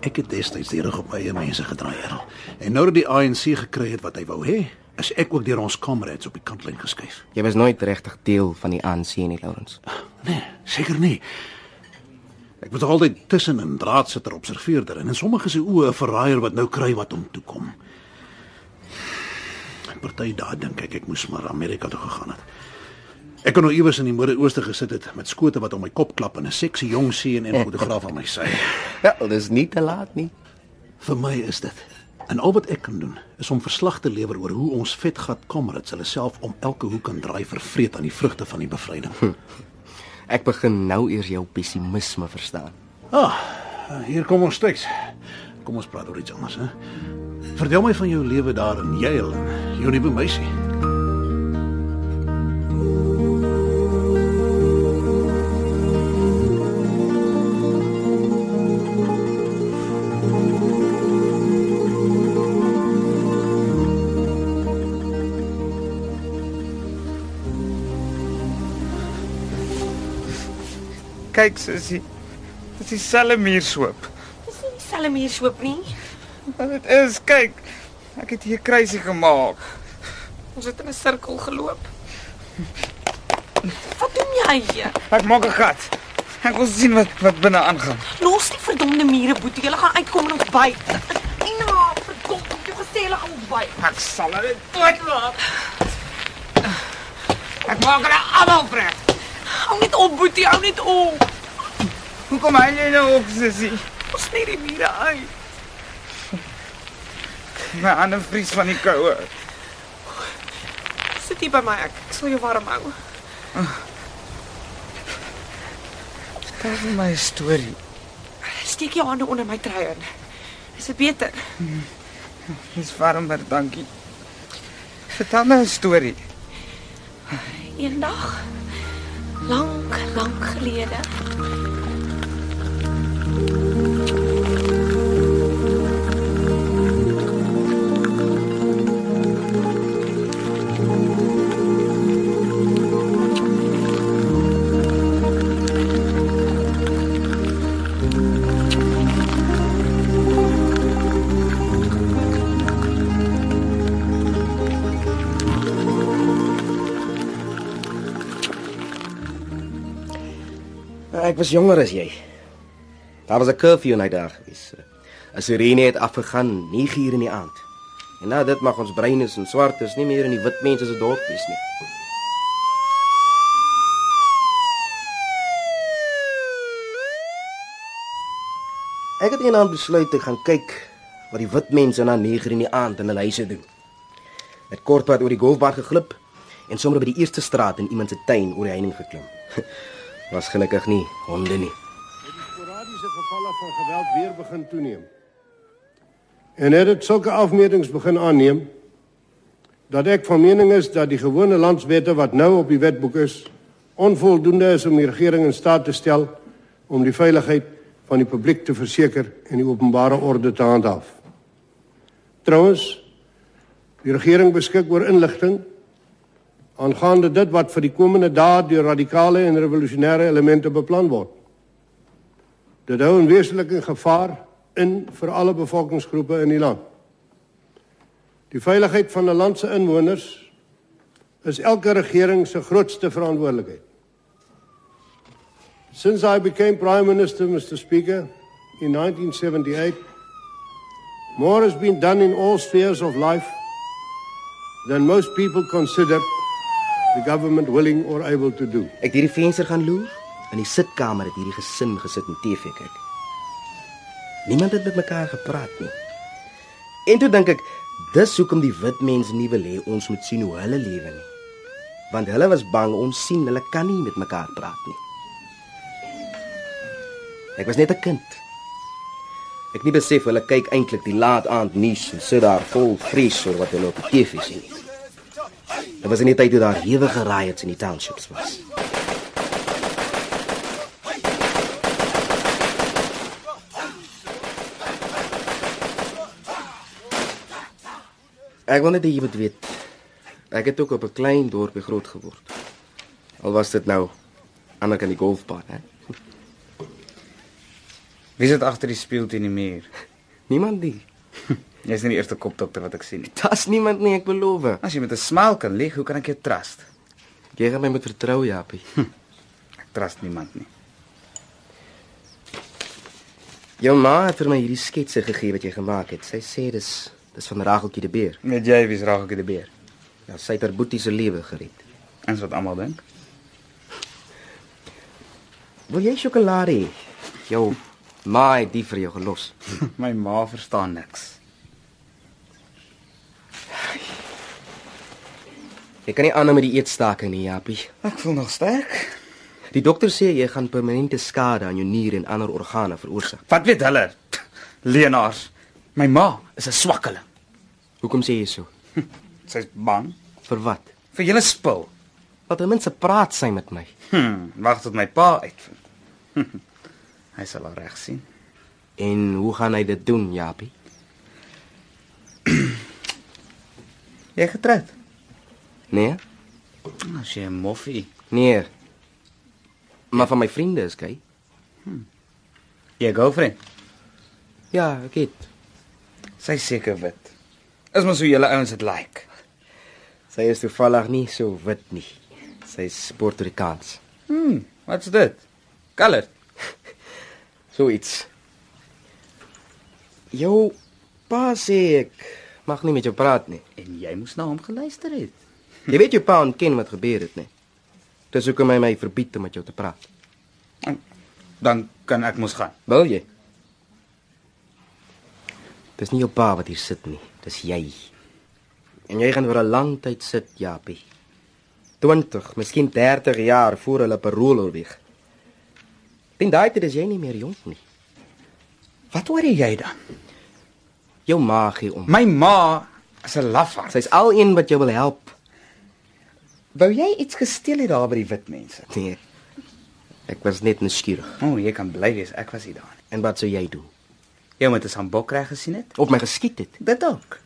[SPEAKER 2] Ek het destyds die rug op eie mense gedraai, Errol. En nou dat die ANC gekry het wat hy wou hê, is ek ook deur ons kamerads op die kantlyn geskuif.
[SPEAKER 6] Jy was nooit regtig deel van die ANC nie, Lawrence.
[SPEAKER 2] Nee, seker nie. Ek was nog altyd tussen 'n draadsitter observeerder en in sommige se oë 'n verraaier wat nou kry wat hom toekom. Ek party daar dink ek ek moes maar Amerika toe gegaan het. Ek kon nou iewers in die Midde-Ooste gesit het met skote wat om my kop klap en 'n seksie jong seun
[SPEAKER 6] (laughs)
[SPEAKER 2] en 'n fotograaf aan my sy.
[SPEAKER 6] Ja, dis nie te laat nie.
[SPEAKER 2] Vir my is dit. En al wat ek kan doen, is om verslag te lewer oor hoe ons vetgat comrades hulle self om elke hoek en draai vervreet aan die vrugte van die bevryding.
[SPEAKER 6] Ek begin nou eers jou pessimisme verstaan.
[SPEAKER 2] Ah, hier kom ons teks. Kom ons praat oor iets anders, hè. Vertel my van jou lewe daar in Yale en jou nuwe meisie.
[SPEAKER 8] Kyk sussie. Dit is dieselfde muurshoop.
[SPEAKER 7] Dis nie dieselfde muur soop nie.
[SPEAKER 8] Wat dit is, kyk. Ek het hier kruisie gemaak.
[SPEAKER 7] Ons het in 'n sirkel geloop. Wat doen jy hier?
[SPEAKER 8] Ek maak 'n gat. Ek wil sien wat wat binne aangaan.
[SPEAKER 7] Los die verdomde mure, boetie. Julle gaan uitkom en ons byt. Ina, verkom, ek het jou gesê hulle gaan ons byt.
[SPEAKER 8] Ek sal dit doodmaak. Ek maak hulle almal vrek.
[SPEAKER 7] Hou net op, boetie, hou net op.
[SPEAKER 8] Hoekom hou jy nou op, sussie?
[SPEAKER 7] Ons sny die mure uit.
[SPEAKER 8] My hande vries van die koue.
[SPEAKER 7] Sit hier by my ek. Ek sal jou warm hou.
[SPEAKER 8] Vertel vir my 'n storie.
[SPEAKER 7] Steek jou hande onder my trui in. Is dit beter?
[SPEAKER 8] Hm. Dis warmer, dankie. Vertel my 'n storie.
[SPEAKER 7] Eendag lank, lank gelede.
[SPEAKER 6] Eh, Ek was jonger as jy. Daar was 'n curfew in daai dag gewees. 'n Sirene het afgegaan 9uur in die aand. En nou dit mag ons breine en swartes nie meer in die wit mense se dorp wees nie. Ek het eendag besluit ek gaan kyk wat die wit mense na 9uur in die aand in hulle huise doen. Het kortpad oor die golfbaan geglip en sommer by die eerste straat in iemand se tuin oor die heining geklim. (laughs) Was gelukkig nie honde nie.
[SPEAKER 10] sporadiese gevalle van geweld weer begin toeneem. En het dit sulke afmetings begin aanneem dat ek van mening is dat die gewone landswette wat nou op die wetboek is onvoldoende is om die regering in staat te stel om die veiligheid van die publiek te verseker en die openbare orde te handhaaf. Trouwens, die regering beskik oor inligting aangaande dit wat vir die komende dae deur radikale en revolusionêre elemente beplan word. Dit hou in wesenlike gevaar in vir alle bevolkingsgroepe in die land. Die veiligheid van 'n land se inwoners is elke regering se grootste verantwoordelikheid. Since I became Prime Minister, Mr. Speaker, in 1978, more has been done in all spheres of life than most people consider the government willing or able to do.
[SPEAKER 6] Ek het hierdie venster gaan loer In die sitkamer het hierdie gesin gesit en TV kyk. Niemand het met mekaar gepraat nie. En toe dink ek, dis hoekom die wit mense nie wil hê ons moet sien hoe hulle lewe nie. Want hulle was bang ons sien hulle kan nie met mekaar praat nie. Ek was net 'n kind. Ek het nie besef hulle kyk eintlik die laat aand nuus en sit daar vol vrees oor wat hulle op die TV sien. Dit was in die tyd toe daar hewige riots in die townships was. Ek wil net hê jy moet weet. Ek het ook op 'n klein dorpie groot geword. Al was dit nou aan die kant die golfbaan, hè.
[SPEAKER 11] Wie sit agter die spieël teen die muur?
[SPEAKER 6] (laughs) Niemand nie.
[SPEAKER 11] (laughs) Jy's nie die eerste kopdokter wat ek sien
[SPEAKER 6] (laughs)
[SPEAKER 11] nie.
[SPEAKER 6] Daar's niemand nie, ek beloof.
[SPEAKER 11] As jy met 'n smile kan lieg, hoe kan ek jou trust?
[SPEAKER 6] Jy gaan my moet vertrou, Japie.
[SPEAKER 11] Ek trust niemand nie.
[SPEAKER 6] Jou ma het vir my hierdie sketse gegee wat jy gemaak het. Sy sê dis dis van Rageltjie die beer.
[SPEAKER 11] Met jy wie's Rageltjie die beer?
[SPEAKER 6] Ja, sy het haar boetie se lewe gered.
[SPEAKER 11] Ens wat almal dink.
[SPEAKER 6] Wil jy sjokolade hê? Jou ma het die vir jou
[SPEAKER 11] (laughs)
[SPEAKER 6] gelos.
[SPEAKER 11] My ma verstaan niks.
[SPEAKER 6] Jy kan nie aanhou met die eetstaking nie, Japie.
[SPEAKER 11] Ek voel nog sterk.
[SPEAKER 6] Die dokter sê jy gaan permanente skade aan jou nier en ander organe veroorsaak.
[SPEAKER 11] Wat weet hulle? Leenaars. My ma is 'n swakkeling.
[SPEAKER 6] Hoekom sê jy so?
[SPEAKER 11] (laughs) Sy's bang
[SPEAKER 6] Vir wat?
[SPEAKER 11] vir julle spil.
[SPEAKER 6] Want ten minste praat sy met my.
[SPEAKER 11] Hm, wag tot my pa uitvind. (laughs) Hy sal haar reg sien.
[SPEAKER 6] En hoe gaan hy dit doen, Japie?
[SPEAKER 11] Jy getroud?
[SPEAKER 6] Nee?
[SPEAKER 11] As jy 'n moffie.
[SPEAKER 6] Nee. Maar van my vriende is gay.
[SPEAKER 11] Jy girlfriend.
[SPEAKER 6] Ja, ek het.
[SPEAKER 11] Sy seker wit. Is maar so julle ouens dit like.
[SPEAKER 6] Sy is toevallig nie so wit nie. Sy is Puerto-Ricaans.
[SPEAKER 11] Hm, wat's dit? Color.
[SPEAKER 6] (laughs) So iets. Jou pa sê ek mag nie met jou praat nie.
[SPEAKER 11] En jy moes na hom geluister het.
[SPEAKER 6] Jy weet jou pa ontken wat gebeur het, nee. Dis hoekom hy my verbied om met jou te praat.
[SPEAKER 11] Dan kan ek mos gaan.
[SPEAKER 6] Wil jy? Dis nie jou pa wat hier sit nie, dis jy. En jy gaan vir 'n lang tyd sit, Japie. 20, miskien 30 jaar voor hulle parol oorweeg. Teen daai tyd is jy nie meer jonk nie.
[SPEAKER 11] Wat hoor jy dan?
[SPEAKER 6] Jou ma gee om.
[SPEAKER 11] My ma is 'n lafaard.
[SPEAKER 6] Sy's al een wat jou wil help.
[SPEAKER 11] Wou jy iets gesteel het daar by die wit mense?
[SPEAKER 6] Nee. Ek was net nuuskierig.
[SPEAKER 11] O, oh, jy kan bly wees, ek was nie daar nie.
[SPEAKER 6] En wat sou jy doen?
[SPEAKER 11] Jy moet 'n sambok reg gesien het.
[SPEAKER 6] Of my geskiet het?
[SPEAKER 11] Dit ook.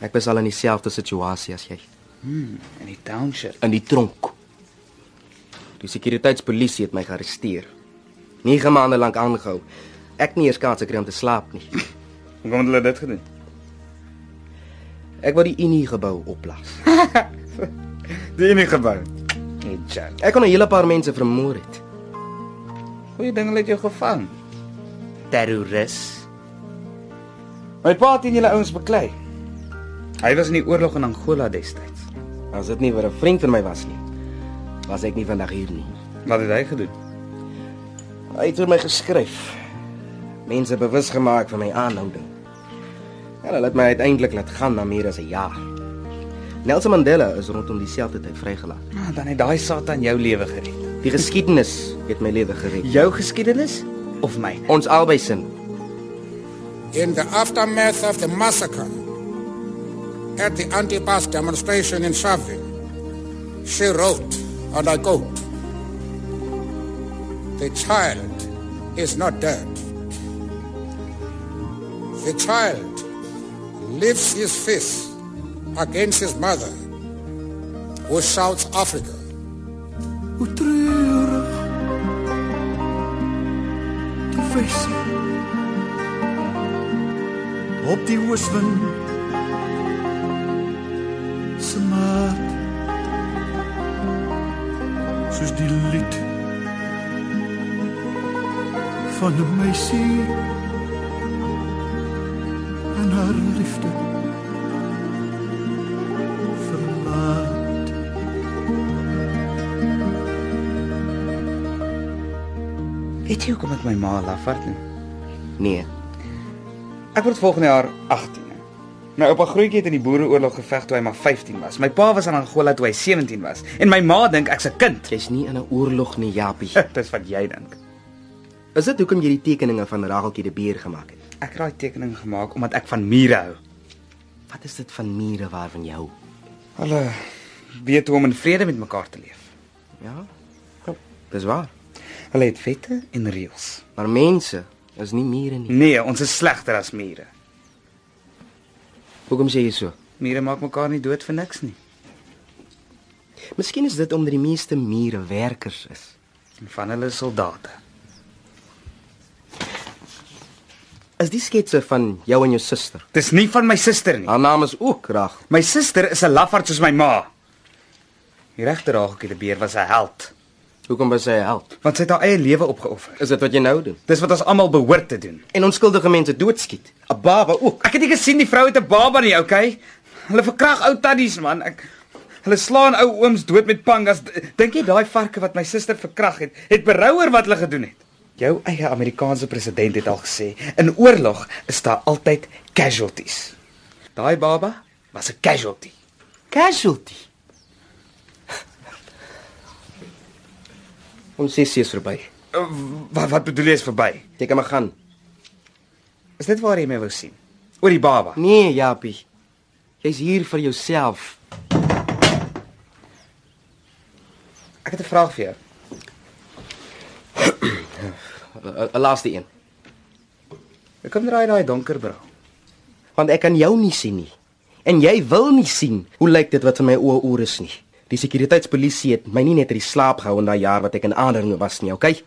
[SPEAKER 6] Ek was al in dieselfde situasie as jy.
[SPEAKER 11] In die township.
[SPEAKER 6] in die tronk. Die sekuriteitspolisie het my gearresteer. 9 maande lank aangehou. Ek nie eers kans gekry om te slaap nie.
[SPEAKER 11] (clears throat) Hoe kom hulle dit gedoen?
[SPEAKER 6] Ek wou die Unie gebou opblaas.
[SPEAKER 11] (laughs) Die enige gebou. Hey, Jan.
[SPEAKER 6] Ek kon 'n hele paar mense vermoor het.
[SPEAKER 11] Goeie ding hulle het jou gevang. Terroris. My pa het in julle ouens beklei. Hy was in die oorlog in Angola destyds.
[SPEAKER 6] As dit nie vir 'n vriend van my was nie, was ek nie vandag hier nie.
[SPEAKER 11] Wat het hy gedoen?
[SPEAKER 6] Hy het vir my geskryf. Mense bewus gemaak van my aanhouding. En hulle het my uiteindelik laat gaan na meer as 'n jaar. Nelson Mandela is rondom dieselfde tyd vrygelaat.
[SPEAKER 11] Ah, dan het daai Satan jou lewe gered.
[SPEAKER 6] Die geskiedenis het my lewe gered.
[SPEAKER 11] Jou geskiedenis of myne?
[SPEAKER 6] Ons albei sin.
[SPEAKER 12] In the aftermath of the massacre at the anti-bus demonstration in Sharpeville, she wrote, and I quote, The child is not dead. The child lifts his fist against his mother, who shouts Africa.
[SPEAKER 13] Hoe treurig die visse op die ooswind se maat soos die lied van 'n meisie en haar liefde verlaat
[SPEAKER 11] Weet jy hoekom ek my ma lafart noem?
[SPEAKER 6] Nee.
[SPEAKER 11] Ek word volgende jaar 18. My oupa grootjie het in die Boereoorlog geveg toe hy maar 15 was. My pa was in Angola toe hy 17 was en my ma dink ek's 'n kind.
[SPEAKER 6] Jy's nie in 'n oorlog nie, Japie.
[SPEAKER 11] (laughs) Dis wat jy dink.
[SPEAKER 6] Is dit hoekom jy die tekeninge van Rageltjie de Beer gemaak het?
[SPEAKER 11] Ek het daai tekening gemaak omdat ek van mure hou.
[SPEAKER 6] Wat is dit van mure waarvan jy hou?
[SPEAKER 11] Hulle weet hoe om in vrede met mekaar te leef.
[SPEAKER 6] Ja. Kom. Dis waar.
[SPEAKER 11] Hulle het vette en reëls.
[SPEAKER 6] Maar mense is nie mure nie.
[SPEAKER 11] Nee, ons is slegter as mure.
[SPEAKER 6] Hoekom sê jy so?
[SPEAKER 11] Mure maak mekaar nie dood vir niks nie.
[SPEAKER 6] Miskien is dit omdat die meeste mure werkers is.
[SPEAKER 11] En van hulle is soldate.
[SPEAKER 6] Is die sketse van jou en jou suster?
[SPEAKER 11] Dis nie van my suster nie.
[SPEAKER 6] Haar naam is ook Rag.
[SPEAKER 11] My suster is 'n lafaard soos my ma. Die regter Rageltjie de Beer was 'n held,
[SPEAKER 6] Hoekom was sy 'n held?
[SPEAKER 11] want sy het haar eie lewe opgeoffer.
[SPEAKER 6] Is dit wat jy nou doen?
[SPEAKER 11] Dis wat ons almal behoort te doen.
[SPEAKER 6] En onskuldige mense doodskiet. 'n Baba ook.
[SPEAKER 11] Ek het nie gesien die vrou het 'n baba nie, okay? Hulle verkrag ou tannies man. Ek hulle slaan ou ooms dood met pangas. D- Dink jy daai varke wat my suster verkrag het, het berou oor wat hulle gedoen het? Jou eie Amerikaanse president het al gesê, in oorlog is daar altyd casualties. Daai baba was 'n casualty.
[SPEAKER 6] Casualty. Ons sê sies verby.
[SPEAKER 11] Uh, Wat wat bedoel jy is verby?
[SPEAKER 6] Jy kan maar gaan.
[SPEAKER 11] Is dit waar jy my wou sien? Oor die baba.
[SPEAKER 6] Nee, Japie. Jy's hier vir jouself.
[SPEAKER 11] Ek het 'n vraag vir jou.
[SPEAKER 6] 'n 'n Laaste een.
[SPEAKER 11] Hoekom draai jy daai donker bril?
[SPEAKER 6] Want ek kan jou nie sien nie. En jy wil nie sien hoe lyk dit wat in my oë oor is nie. Die sekuriteitspolisie het my nie net uit die slaap gehou in daai jaar wat ek in aanhouding was nie, okay?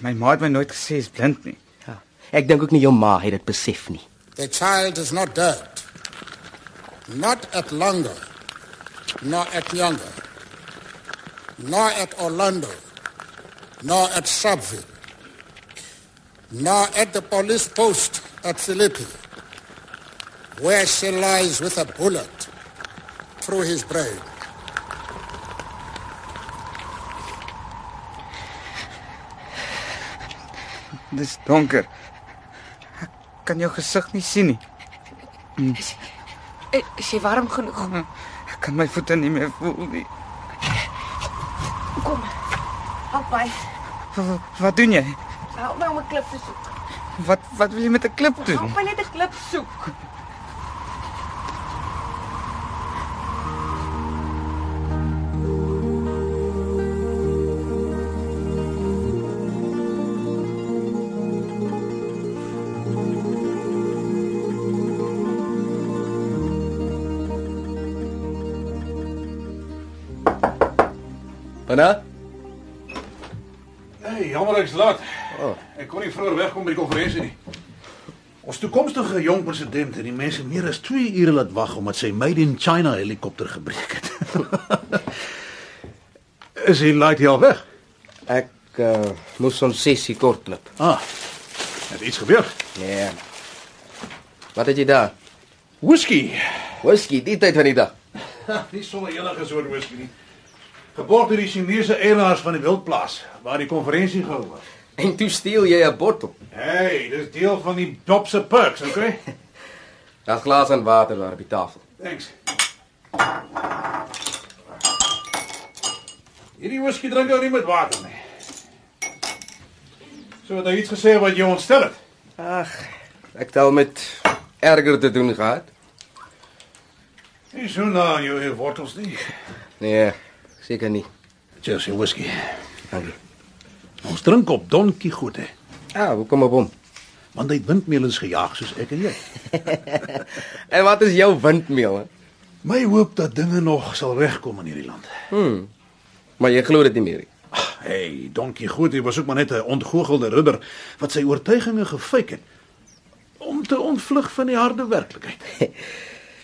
[SPEAKER 11] My ma het my nooit gesê jy's blind nie.
[SPEAKER 6] Ja. Ek dink ook nie jou ma het dit besef nie.
[SPEAKER 12] The child is not dead. Not at Longo, nor at Younger, nor at Orlando, nor at Sharpeville, nor at the police post at Philippi, where she lies with a bullet through his brain.
[SPEAKER 11] Dis donker. Ek kan jou gesig nie sien nie. Hmm.
[SPEAKER 7] Eh, Is jy warm genoeg?
[SPEAKER 11] Ek kan my voete nie meer voel nie.
[SPEAKER 7] Kom. Help my.
[SPEAKER 11] Wat, wat doen jy?
[SPEAKER 7] Help my om 'n klip te soek.
[SPEAKER 11] Wat wat wil jy met 'n klip doen?
[SPEAKER 7] Help my net 'n klip soek.
[SPEAKER 6] Binne?
[SPEAKER 2] Hey, jammer ek's laat.
[SPEAKER 6] O.
[SPEAKER 2] Ek kon nie vroeër wegkom by die konferensie nie. Ons toekomstige jong president het die mense meer as 2 ure laat wag omdat sy Made in China helikopter gebreek het. (laughs) Is hy laat hier al weg?
[SPEAKER 6] Ek uh, moes ons sessie kort knip.
[SPEAKER 2] Ah. Het iets gebeur?
[SPEAKER 6] Nee. Wat het jy daar?
[SPEAKER 2] Whisky.
[SPEAKER 6] Whisky die tyd van die dag.
[SPEAKER 2] (laughs) nie sommer enige soort whisky nie. Geborg deur die Chinese eienaars van die wildplaas waar die konferensie gehou was.
[SPEAKER 6] En toe steel jy 'n bottel.
[SPEAKER 2] Hey, dis deel van die job se perks,
[SPEAKER 6] (laughs)
[SPEAKER 2] okay?
[SPEAKER 6] 'n Glas en water daar op die tafel.
[SPEAKER 2] Thanks. Hierdie whisky drink ou nie met water nie. So het hy iets gesê wat jou ontstel het.
[SPEAKER 6] Ag, ek het al met erger te doen gehad.
[SPEAKER 2] Nie so na jou jou wortels nie.
[SPEAKER 6] Nee, seker nie.
[SPEAKER 2] Cheers, jou whisky.
[SPEAKER 6] Dankie.
[SPEAKER 2] Ons drink op Don Quixote,
[SPEAKER 6] Ja, hoe kom op hom?
[SPEAKER 2] want hy het windmeulens gejaag soos ek en jy.
[SPEAKER 6] (laughs) En wat is jou windmeel? He?
[SPEAKER 2] My hoop dat dinge nog sal regkom in hierdie land. Ah,
[SPEAKER 6] Hmm. Maar jy glo dit nie meer nie.
[SPEAKER 2] Hey, Don Quixote was ook maar net 'n ontgoochelde ridder wat sy oortuigings gefeik het om te ontvlug van die harde werklikheid.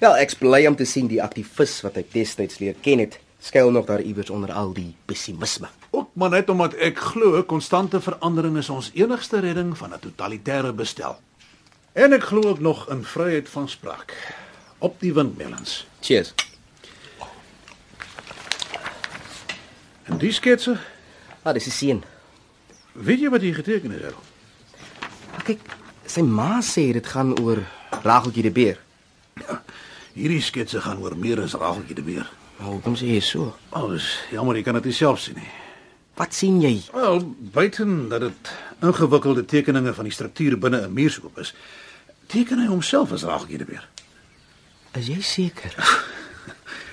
[SPEAKER 6] Wel, ek's bly om te sien die aktivis wat ek destyds leer ken het, skuil nog daar iewers onder al die pessimisme.
[SPEAKER 2] Ook maar net omdat ek glo konstante verandering is ons enigste redding van 'n totalitêre bestel. En ek glo ook nog in vryheid van spraak op die windmellens.
[SPEAKER 6] Cheers.
[SPEAKER 2] En die sketse
[SPEAKER 6] Ah, dis die seun.
[SPEAKER 2] Weet jy wat hy geteken het, Errol?
[SPEAKER 6] Kyk, sy ma sê dit gaan oor Rageltjie die beer.
[SPEAKER 2] Hierdie sketse gaan oor meer as Rageltjie die beer.
[SPEAKER 6] Nou, kom sê jy so.
[SPEAKER 2] Alles, jammer jy kan dit nie self sien nie.
[SPEAKER 6] Wat sien jy?
[SPEAKER 2] Wel, buiten dat dit ingewikkelde tekeninge van die struktuur binne 'n muurshoop is, teken hy homself as Rageltjie die beer.
[SPEAKER 6] Is jy
[SPEAKER 2] (laughs)
[SPEAKER 6] seker?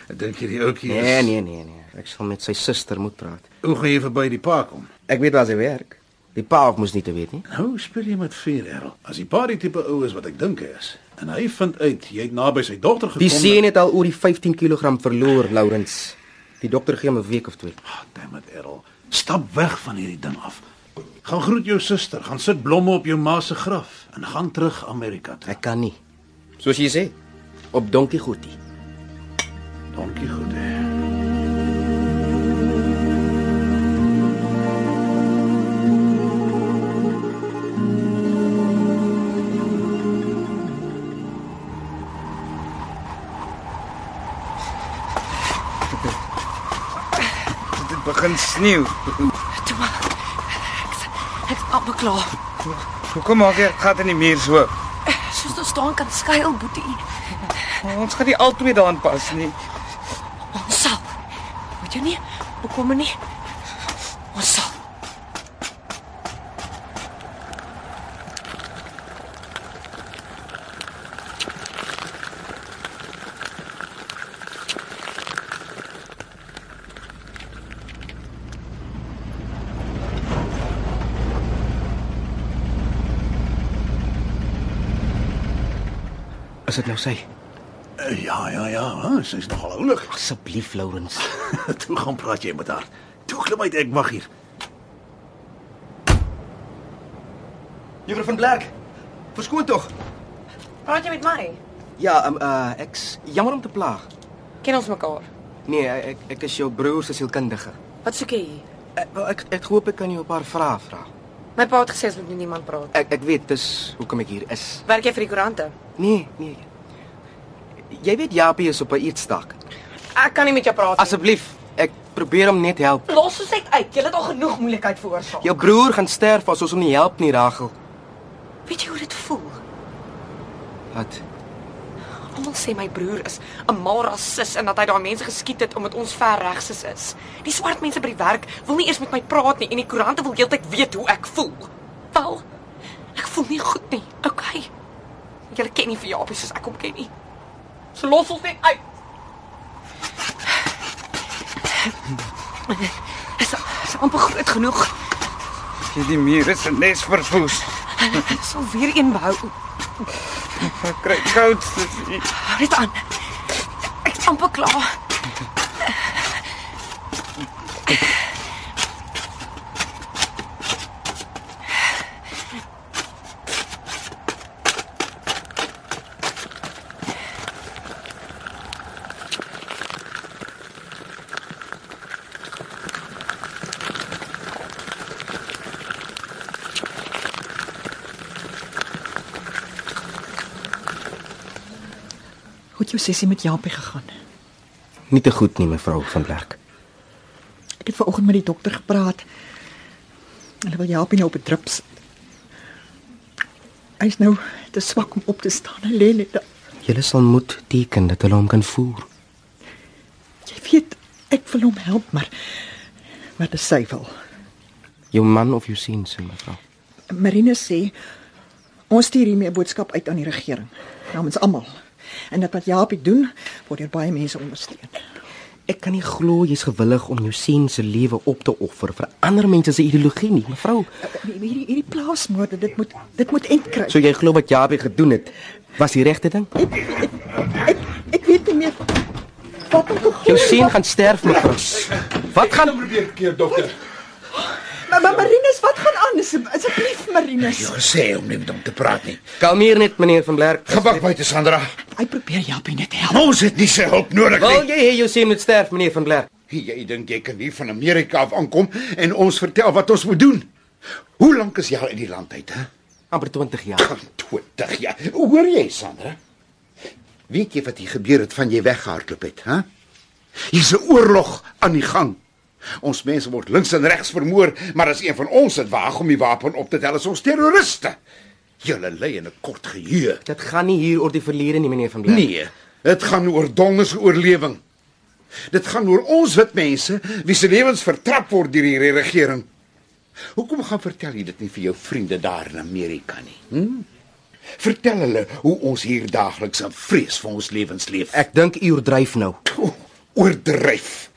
[SPEAKER 2] Dink jy die ouetjie is
[SPEAKER 6] Nee, nee, nee, nee. Ek sal met sy suster moet praat.
[SPEAKER 2] Hoe gaan jy verby die pa kom?
[SPEAKER 6] Ek weet waar sy werk. Die pa hoef moes nie te weet nie.
[SPEAKER 2] Nou speel jy met vuur, Errol. As die pa die tipe ou is wat ek dink hy is en hy vind uit jy het naby sy dogter gekom.
[SPEAKER 6] Die seun het al oor die 15 kg verloor, Lawrence. Die dokter gee hom 'n week of twee.
[SPEAKER 2] Ah, Damn it, Errol. Stap weg van hierdie ding af. Gaan groet jou suster, gaan sit blomme op jou ma se graf en gaan terug Amerika toe.
[SPEAKER 6] Ek kan nie. Soos jy sê, op donkie goedie.
[SPEAKER 2] Dankie goed. Hè.
[SPEAKER 11] Dit begin sneeu.
[SPEAKER 8] Toe maar. Ek's ek's amper klaar.
[SPEAKER 11] Hoekom maak jy gat in die muur so?
[SPEAKER 8] Soos ons staan kan skuil, boetie.
[SPEAKER 11] Ons gaan nie altyd daarin pas nie.
[SPEAKER 8] Ons sal. Moet jy nie bekommer nie. Ons sal.
[SPEAKER 6] Is dit nou sy?
[SPEAKER 2] Eh, Ja, ja, ja, hè, sy's nogal oulik.
[SPEAKER 6] Asseblief, Lawrence.
[SPEAKER 2] (laughs) Toe gaan praat jy met haar. Toe klim uit, ek wag hier.
[SPEAKER 6] Juffrou van Blerk. Verskoon tog.
[SPEAKER 8] Praat jy met my?
[SPEAKER 6] Ja, um, uh ek s- jammer om te plaag.
[SPEAKER 8] Ken ons mekaar?
[SPEAKER 6] Nee, ek ek is jou broer se sielkundige.
[SPEAKER 8] Wat soek jy hier?
[SPEAKER 6] Ek wel, ek ek hoop ek kan jou 'n paar vrae vra.
[SPEAKER 8] My pa het gesê ons moet met niemand praat.
[SPEAKER 6] Ek ek weet dis hoekom ek hier is.
[SPEAKER 8] Werk jy vir die koerante?
[SPEAKER 6] Nee, nee. Jy weet Japie is op 'n eetstak.
[SPEAKER 8] Ek kan nie met jou praat nie.
[SPEAKER 6] Asseblief, ek probeer hom net help.
[SPEAKER 8] Los ons net uit. Jy het al genoeg moeilikheid veroorsaak.
[SPEAKER 6] Jou broer gaan sterf as ons hom nie help nie, Ragel.
[SPEAKER 8] Weet jy hoe dit voel?
[SPEAKER 6] Wat?
[SPEAKER 8] Almal sê my broer is 'n mal rasis en dat hy daai mense geskiet het omdat ons ver regses is. Die swart mense by die werk wil nie eers met my praat nie en die koerante wil heeltyd weet hoe ek voel. Wel, ek voel nie goed nie. Okay. Julle ken nie vir Japie soos ek hom ken nie. So los ons net uit. Is is amper groot genoeg.
[SPEAKER 11] Hierdie muur is 'n nes verwoes.
[SPEAKER 8] Sal weer een behou.
[SPEAKER 11] Ek kry koud. dis nie-
[SPEAKER 8] Hou dit aan. Ek's amper klaar.
[SPEAKER 4] Hoe het jou sessie met Japie gegaan?
[SPEAKER 6] Nie te goed nie, mevrou van Blerk.
[SPEAKER 4] Ek het vanoggend met die dokter gepraat. Hulle wil Japie nou op 'n drip sit. Hy's nou te swak om op te staan. Hy lê net daar.
[SPEAKER 6] Julle sal moet teken dat hulle hom kan voer.
[SPEAKER 4] Jy weet, ek wil hom help, maar maar dis sy wil.
[SPEAKER 6] Jou man of jou seun se mevrou.
[SPEAKER 4] Marina sê ons stuur hiermee 'n boodskap uit aan die regering namens almal. En dat wat Japie doen, word deur baie mense ondersteun.
[SPEAKER 6] Ek kan nie glo jy's gewillig om jou seun se lewe op te offer vir ander mense se ideologie nie, mevrou.
[SPEAKER 4] eh, Hierdie hierdie plaasmoorde, dit moet dit moet end kry.
[SPEAKER 6] So jy glo wat Japie gedoen het, was die regte ding?
[SPEAKER 4] Ek weet nie meer wat om te glo.
[SPEAKER 6] Jou seun gaan sterf, mevrou. Wat gaan
[SPEAKER 14] probeer keer, dokter?
[SPEAKER 4] Maar, maar Marinus, wat gaan aan? As- Asseblief Marinus.
[SPEAKER 5] gesê om nie met hom te praat nie.
[SPEAKER 6] Kalmeer net, meneer van Blerk.
[SPEAKER 5] Gebak buite Sandra.
[SPEAKER 4] Hy probeer Japie net help.
[SPEAKER 5] Ons het nie sy hulp nodig
[SPEAKER 6] Wil jy hê jou seun moet sterf, meneer van Blerk?
[SPEAKER 5] Jy dink jy kan hier van Amerika af aankom en ons vertel wat ons moet doen. Hoe lank is jy al in die land uit, hè?
[SPEAKER 6] amper 20 jaar.
[SPEAKER 5] 20 jaar. Hoor jy, Sandra? Weet jy wat hier gebeur het van jy weggehardloop het, hè? Hier's 'n oorlog aan die gang. Ons mense word links en regs vermoor, maar as een van ons dit waag om die wapen op te tel, is ons terroriste. Julle lê in 'n kort geheue.
[SPEAKER 6] Dit gaan nie hier oor die verlede nie, meneer van Blerk.
[SPEAKER 5] Nee, dit gaan oor donders oorlewing. Dit gaan oor ons wit mense wie se lewens vertrap word deur hierdie regering. Hoekom gaan vertel jy dit nie vir jou vriende daar in Amerika nie? Hm? Vertel hulle hoe ons hier daagliks in vrees vir ons lewens leef.
[SPEAKER 6] Ek dink u oordryf nou.
[SPEAKER 5] O, oordryf.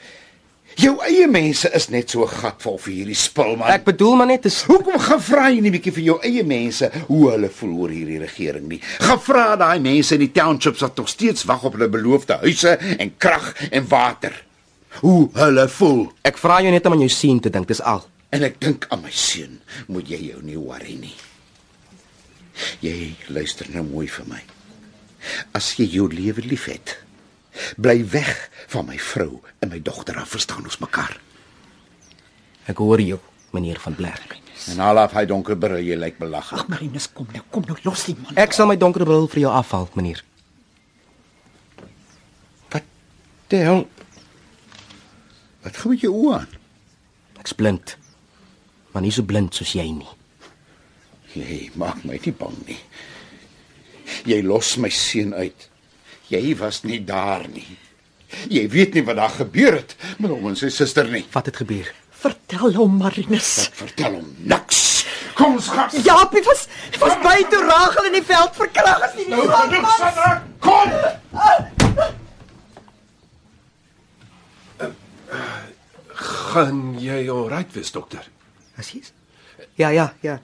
[SPEAKER 5] Jou eie mense is net so gatvol vir hierdie spul man.
[SPEAKER 6] Ek bedoel maar net is
[SPEAKER 5] hoekom gaan vra jy nie bietjie vir jou eie mense hoe hulle voel oor hierdie regering nie. Gaan vra daai mense in die townships wat nog steeds wag op hulle beloofde huise en krag en water. Hoe hulle voel.
[SPEAKER 6] Ek vra jou net om aan jou seun te dink, dis al.
[SPEAKER 5] En ek dink aan my seun, moet jy jou nie worry nie. Jy luister nou mooi vir my. As jy jou lewe liefhet, Bly weg van my vrou en my dogter af, verstaan ons mekaar?
[SPEAKER 6] Ek hoor jou, meneer van Blerk.
[SPEAKER 5] En al af hy donker bril, jy lyk belaglik.
[SPEAKER 6] Ag, Marinus, kom nou, kom nou, los die man. Ek sal my donker bril vir jou afhaal, meneer.
[SPEAKER 5] Wat die hel? Wat gaan met jou oë aan?
[SPEAKER 6] Ek's blind. Maar nie so blind soos jy nie.
[SPEAKER 5] Jy Nee, maak my nie bang nie. Jy los my seun uit. Jy was nie daar nie. Jy weet nie wat daar gebeur het met hom en sy suster nie.
[SPEAKER 6] Wat het gebeur?
[SPEAKER 15] Vertel hom, Marinus.
[SPEAKER 5] Ek vertel hom niks. Kom ons gaan.
[SPEAKER 15] Jaapie was was by toe Rachel in die veld verkrag as nie.
[SPEAKER 5] Nou genoeg, Sandra. Kom.
[SPEAKER 9] Gaan jy alright wees, dokter?
[SPEAKER 6] Presies. Ja, ja, ja.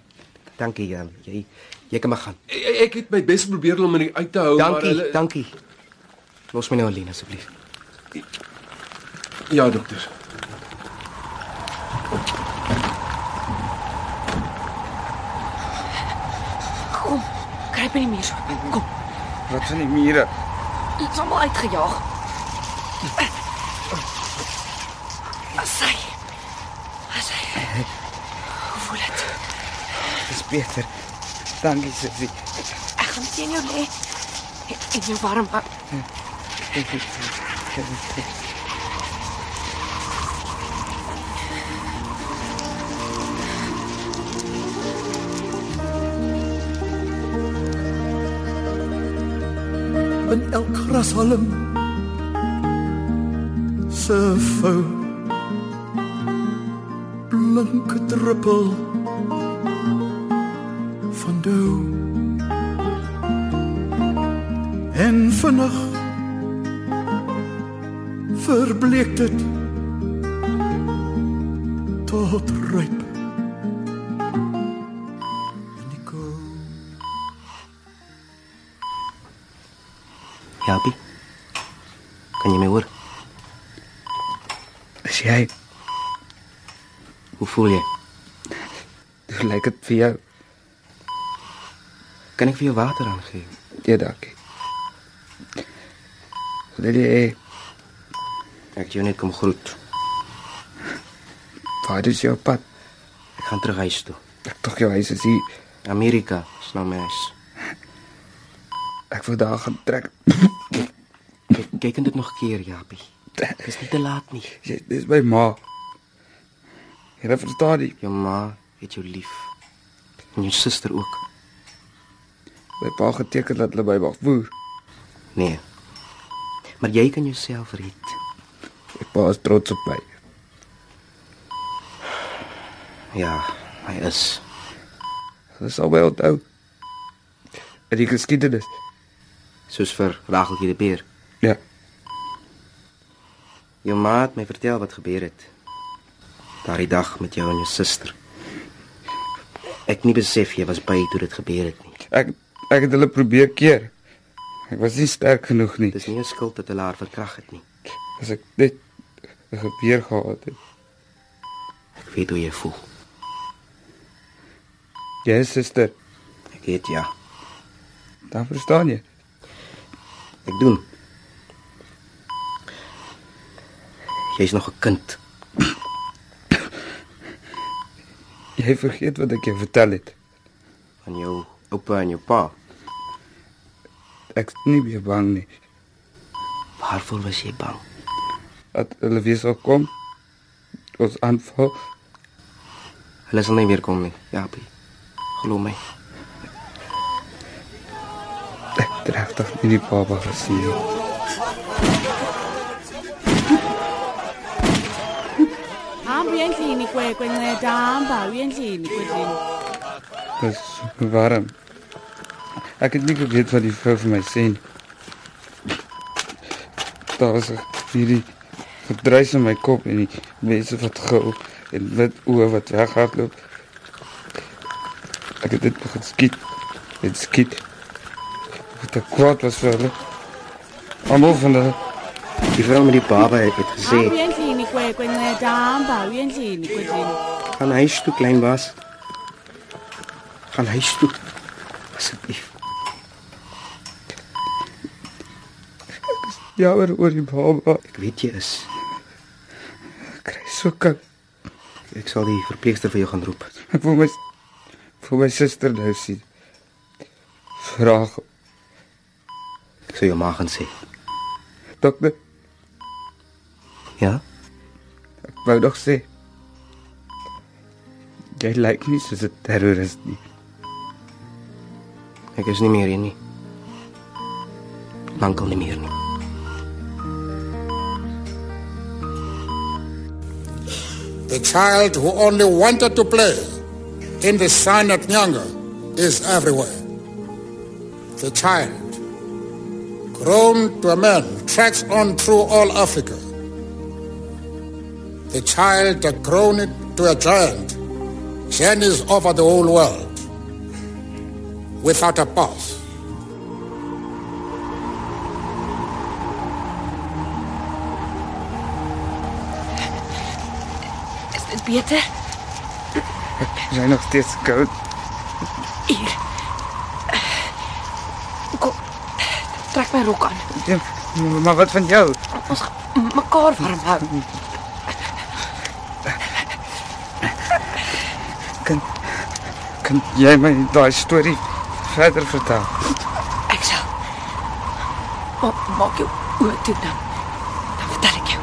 [SPEAKER 6] Dankie, ja. jy jy kan maar gaan.
[SPEAKER 9] Ek het my bes probeer om in die uit te hou,
[SPEAKER 6] dankie,
[SPEAKER 9] maar hulle
[SPEAKER 6] Dankie, dankie. Los my nou alleen asseblief.
[SPEAKER 9] Ja, dokter.
[SPEAKER 7] Kom, kruip in die muur. Kom.
[SPEAKER 11] Wat van die mure?
[SPEAKER 7] Ons is almal uitgejaag. Asai. Asai. Hoe voel dit?
[SPEAKER 11] Dis beter. Dankie, Susie.
[SPEAKER 7] Ek gaan teen jou lê. En jou warm hou.
[SPEAKER 13] in elk grashalm se vou blank druppel van dou en vinnig verbleek dit tot ryp
[SPEAKER 6] Japie. Ja, Kan jy my hoor?
[SPEAKER 11] Is jy?
[SPEAKER 6] Hoe voel jy?
[SPEAKER 11] Hoe lyk dit vir jou?
[SPEAKER 6] Kan ek vir jou water aangee?
[SPEAKER 11] Ja, dankie. Wil jy
[SPEAKER 6] Ek het jou net kom groet.
[SPEAKER 11] Waar is jou pad?
[SPEAKER 6] Ek gaan terug huis toe.
[SPEAKER 11] Ek tog jou huis is hier.
[SPEAKER 6] Amerika, is nou my huis.
[SPEAKER 11] Ek wil daar gaan trek.
[SPEAKER 6] Kyk, kyk en dit nog 'n keer, Japie. Dis nie te laat nie.
[SPEAKER 11] Jy, dis my ma. Jy verstaan nie.
[SPEAKER 6] Jou ma het jou lief. En jou suster ook.
[SPEAKER 11] My pa geteken dat hulle by mag woer.
[SPEAKER 6] Nee. Maar jy kan jouself red.
[SPEAKER 11] My pa is trots op my.
[SPEAKER 6] Ja, hy is.
[SPEAKER 11] Hulle sal my onthou. In die geskiedenis.
[SPEAKER 6] Soos vir Rageltjie die beer.
[SPEAKER 11] Ja.
[SPEAKER 6] Jou ma het my vertel wat gebeur het. Daardie dag met jou en jou suster. Ek het nie besef jy was by toe dit gebeur het nie.
[SPEAKER 11] Ek ek het hulle probeer keer. Ek was nie sterk genoeg nie.
[SPEAKER 6] Dis nie 'n skuld dat hulle haar verkrag het nie.
[SPEAKER 11] As ek net 'n gebeur gehad het.
[SPEAKER 6] Ek weet hoe jy voel.
[SPEAKER 11] Jy is suster.
[SPEAKER 6] Ek weet ja.
[SPEAKER 11] Dan verstaan jy.
[SPEAKER 6] Ek doen. Jy's nog 'n kind.
[SPEAKER 11] Jy vergeet wat ek jou vertel het.
[SPEAKER 6] Van jou oupa en jou pa.
[SPEAKER 11] Ek's nie meer bang nie.
[SPEAKER 6] Waarvoor was jy bang?
[SPEAKER 11] Dat hulle weer sal kom
[SPEAKER 6] ons aanval. Hulle sal nie weer kom nie, Japie. Glo my.
[SPEAKER 16] Ek tref tog nie die baba gesien nie.
[SPEAKER 3] hamba uye endlini kwekwe nceda hamba uye endlini kwedlini
[SPEAKER 16] Dit is warm. Ek het nie geweet wat die vrou vir my sê nie. Daar was hierdie gedruis in my kop en die mense wat gil en wit oë wat weghardloop. Ek het dit begin skiet. Dit skiet. Wat ek kwaad was vir hulle. Almal van hulle.
[SPEAKER 6] Die vrou met die baba het, het gesê,
[SPEAKER 3] hamba uye endlini kwekwe nceda hamba uye endlini kwedlini
[SPEAKER 6] "Gaan huis toe, klein baas. Gaan huis toe." Asseblief.
[SPEAKER 16] Jammer Ja, oor die baba.
[SPEAKER 6] Ek weet jy is.
[SPEAKER 16] Ek kry so koud.
[SPEAKER 6] Ek sal die verpleegster vir jou gaan roep.
[SPEAKER 16] Ek wil my vir my suster nou sien. Vraag
[SPEAKER 6] Ek sal jou ma gaan sê.
[SPEAKER 16] dokter.
[SPEAKER 6] Ja?
[SPEAKER 16] Ek wou nog sê. Jy lyk nie soos 'n terrorist nie.
[SPEAKER 6] Ek is nie meer hier nie. Lankal nie meer nie.
[SPEAKER 12] The child who only wanted to play in the sun at Nyanga is everywhere. The child, grown to a man, tracks on through all Africa. The child that grown it to a giant journeys over the whole world without a pause.
[SPEAKER 7] Is dit beter?
[SPEAKER 16] Jy nog steeds koud.
[SPEAKER 7] Hier. Kom. Trek my rok aan.
[SPEAKER 16] Ja, maar wat van jou?
[SPEAKER 7] Ons gaan mekaar warm hou.
[SPEAKER 16] Kan kan jy my daai storie verder vertel?
[SPEAKER 7] Ek sal. Ma maak jou oë toe dan. Dan vertel ek jou.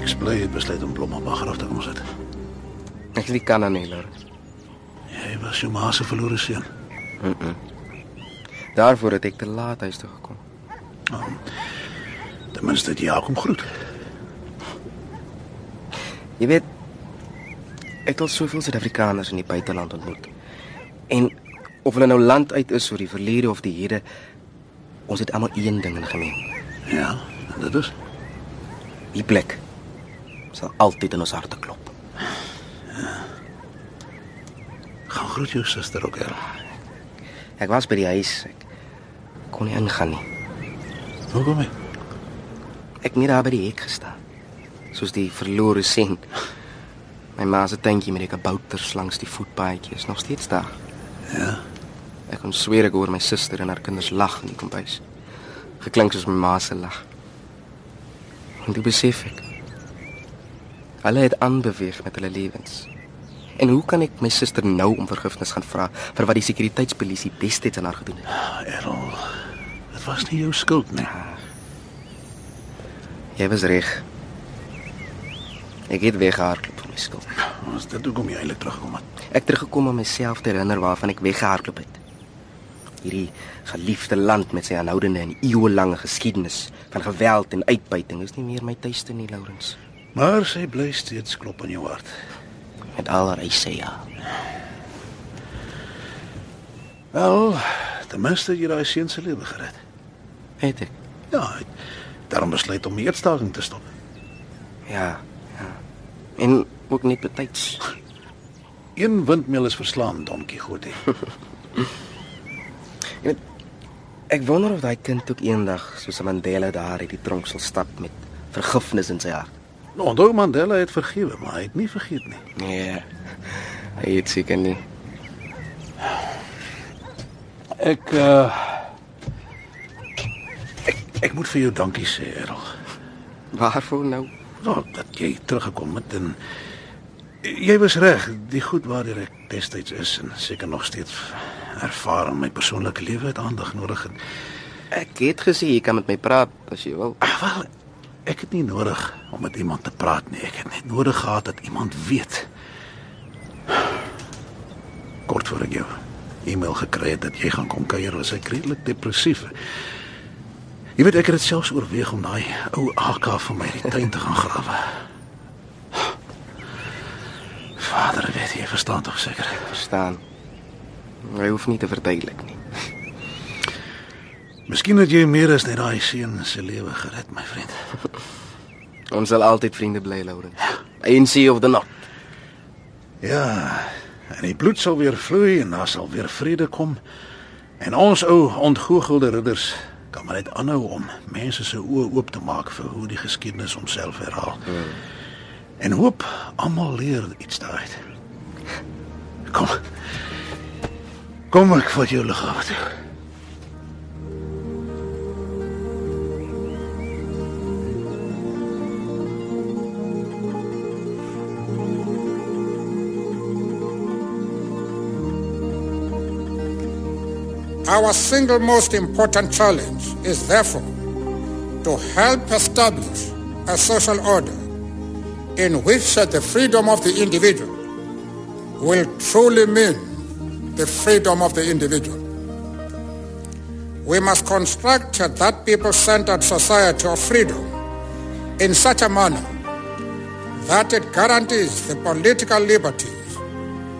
[SPEAKER 2] Ek bly het besluit om Blommaba graf te kom sit.
[SPEAKER 6] Ek sê kan aan nie, Lor.
[SPEAKER 2] Jy was jou ma se verlore seun.
[SPEAKER 6] Mm -mm. Daarvoor het ek te laat huis toe gekom.
[SPEAKER 2] Ah, Ten minste het Jakob groet.
[SPEAKER 6] Jy weet ek het al soveel Suid-Afrikaners in die buiteland ontmoet. En of hulle nou land uit is oor die verlede of die hede, ons het almal een ding in gemeen.
[SPEAKER 2] Ja, en dit is
[SPEAKER 6] Die plek sal altyd in ons harte klop.
[SPEAKER 2] gaan groet jou suster ook her.
[SPEAKER 6] Ek was by die huis. Ek kon nie ingaan nie.
[SPEAKER 2] Hoe kom jy?
[SPEAKER 6] Ek het net daar by die hek gestaan. Soos die verlore sien. My ma se tuintjie met die kabouters langs die voetpaadjie is nog steeds daar.
[SPEAKER 2] Ja.
[SPEAKER 6] Ek kon sweer ek hoor my suster en haar kinders lag in die kombuis. Geklink soos my ma se lag. En toe besef ek. Hulle het aanbeweeg met hulle lewens. En hoe kan ek my suster nou om vergifnis gaan vra vir wat die sekuriteitspolisie destyds aan haar gedoen het?
[SPEAKER 2] Errol, dit was nie jou skuld nie.
[SPEAKER 6] Ah. Jy was reg. Ek het weggehardloop van my skuld.
[SPEAKER 2] Ons dit hoekom jy eintlik teruggekom het.
[SPEAKER 6] Ek teruggekom om myself te herinner waarvan ek weggehardloop het. Hierdie geliefde land met sy aanhoudende en eeuelange geskiedenis van geweld en uitbuiting is nie meer my tuiste nie, Lawrence.
[SPEAKER 2] Maar sy bly steeds klop in jou hart.
[SPEAKER 6] Met al haar eise ja.
[SPEAKER 2] Wel, ten minste het jy daai seun se lewe gered.
[SPEAKER 6] Het ek.
[SPEAKER 2] Ja, hy het daarom besluit om die eetstaking te stop.
[SPEAKER 6] Ja, ja. En ook net betyds.
[SPEAKER 2] Een windmeel is verslaan, Don
[SPEAKER 6] (laughs)
[SPEAKER 2] Quixote.
[SPEAKER 6] Jy weet, Ek wonder of daai kind ook eendag soos 'n Mandela daar uit die tronk sal stap met vergifnis in sy hart.
[SPEAKER 2] Nou, onthou Mandela het vergewe, maar hy het nie vergeet nie.
[SPEAKER 6] Nee. Hy het seker nie.
[SPEAKER 2] Ek eh, uh ek, ek moet vir jou dankie sê, Errol.
[SPEAKER 6] Waarvoor nou?
[SPEAKER 2] Nou, dat jy teruggekom het en jy was reg, die goed waartoe ek destyds is en seker nog steeds ervaar in my persoonlike lewe het aandag nodig en
[SPEAKER 6] ek het gesê jy kan met my praat as jy wil.
[SPEAKER 2] Ag, Ah, wel, ek het nie nodig om met iemand te praat nie. Ek het net nodig gehad dat iemand weet. Kort voor ek jou e-mail gekry het dat jy gaan kom kuier, was ek redelik depressief. Jy weet ek het dit selfs oorweeg om daai ou AK van my uit die tuin te gaan grawe. Vader, weet jy, verstaan tog seker.
[SPEAKER 6] Verstaan. Jy hoef nie te verduidelik nie.
[SPEAKER 2] Miskien het jy meer as net daai seun se lewe gered, my vriend.
[SPEAKER 6] Ons sal altyd vriende bly, Lauren. ANC of the not.
[SPEAKER 2] Ja, en die bloed sal weer vloei en daar sal weer vrede kom. En ons ou ontgoochelde ridders kan maar net aanhou om mense se oë oop te maak vir hoe die geskiedenis homself herhaal. En hoop almal leer iets daaruit. Kom. Kom ek vat jou liggaam toe.
[SPEAKER 12] Our single most important challenge is therefore to help establish a social order in which the freedom of the individual will truly mean the freedom of the individual. We must construct that people-centered society of freedom in such a manner that it guarantees the political liberties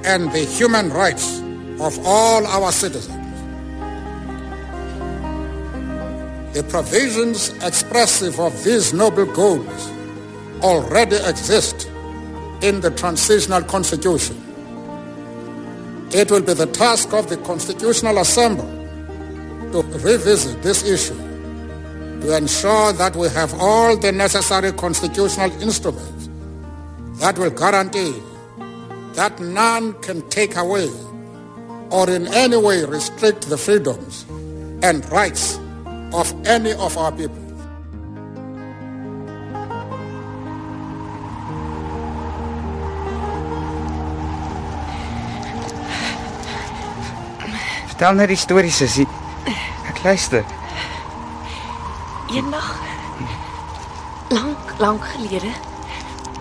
[SPEAKER 12] and the human rights of all our citizens. The provisions expressive of these noble goals already exist in the transitional constitution. It will be the task of the Constitutional Assembly to revisit this issue to ensure that we have all the necessary constitutional instruments that will guarantee that none can take away or in any way restrict the freedoms and rights of any of our people.
[SPEAKER 11] Vertel net die storie, sussie. Ek luister.
[SPEAKER 7] Eendag lank, lank gelede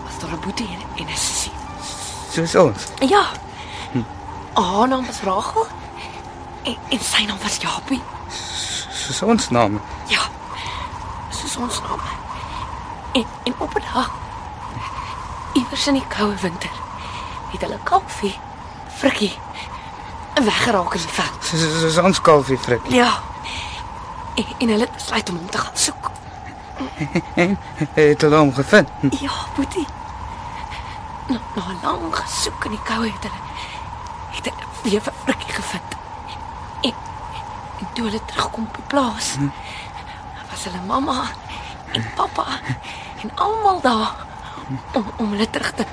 [SPEAKER 7] was daar 'n boetie en, en 'n sussie.
[SPEAKER 11] Soos ons.
[SPEAKER 7] Ja.
[SPEAKER 11] Hm.
[SPEAKER 7] Haar naam was Rachel en, en sy naam was Japie.
[SPEAKER 11] Soos ons naam.
[SPEAKER 7] Ja. Soos ons naam. En, en op 'n dag iewers in die koue winter het hulle kalfie Frikkie weggeraak in die veld.
[SPEAKER 11] Soos, soos ons kalfie frik.
[SPEAKER 7] Ja. En, en hulle het besluit om hom te gaan soek.
[SPEAKER 11] En (laughs) het hulle hom gevind.
[SPEAKER 7] Ja, Boetie. Na, na nou, lang gesoek in die koue het hulle het hulle weer vir Frikkie gevind. En, en toe hulle terugkom op die plaas, was hulle mamma en pappa en almal daar om om hulle terug te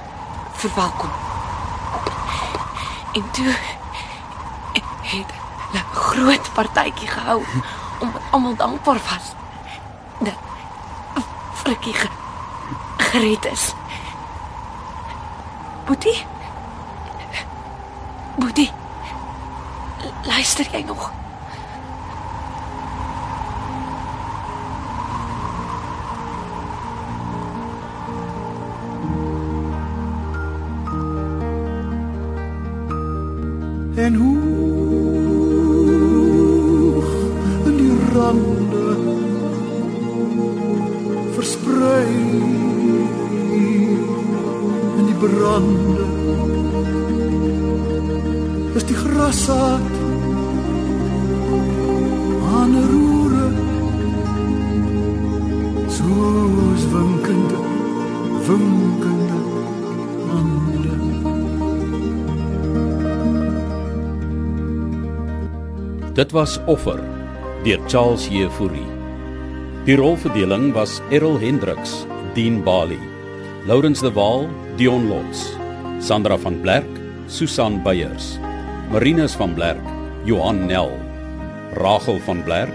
[SPEAKER 7] verwelkom. En toe het hulle 'n groot partytjie gehou omdat almal dankbaar was dat Frikkie ge, gered is. Boetie? Boetie? Luister jy nog?
[SPEAKER 13] En hoe in die rande versprei in die brande is die grassaad aan roere soos winkende winkende hande
[SPEAKER 1] Dit was Offer deur Charles Jefouri. Die rolverdeling was Errol Hendriks, Dean Bali, Lawrence De Waal, Dion Lots, Sandra van Blerk, Susan Beyers, Marinus van Blerk, Johan Nel, Rachel van Blerk,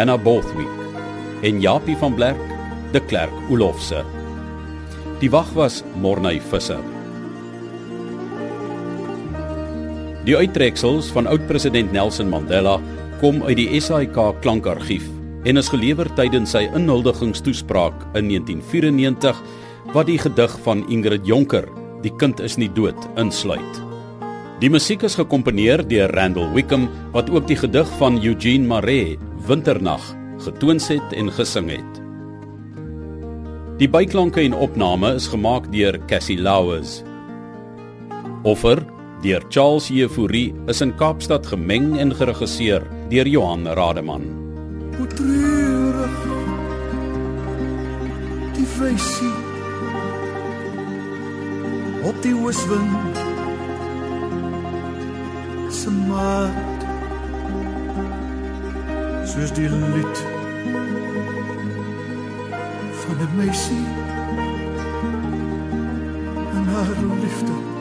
[SPEAKER 1] Anna Bothwick en Japie van Blerk, De Klerk Olofse. Die wag was Morney Visser. Die uittreksels van oud-president Nelson Mandela kom uit die SAIK klankargief en is gelewer tydens sy inhuldigingstoespraak in 1994 wat die gedig van Ingrid Jonker, Die kind is nie dood, insluit. Die musiek is gekomponeer deur Randall Wickham wat ook die gedig van Eugene Maree, Winternag, getoons het en gesing het. Die byklanke en opname is gemaak deur Cassie Lauers. Offer deur Charles Jefouri is in Kaapstad gemeng en geregisseer deur Johan Rademan.
[SPEAKER 13] Hoe treurig die wysie op die ooswind se maat soos die lied van 'n meisie en haar liefde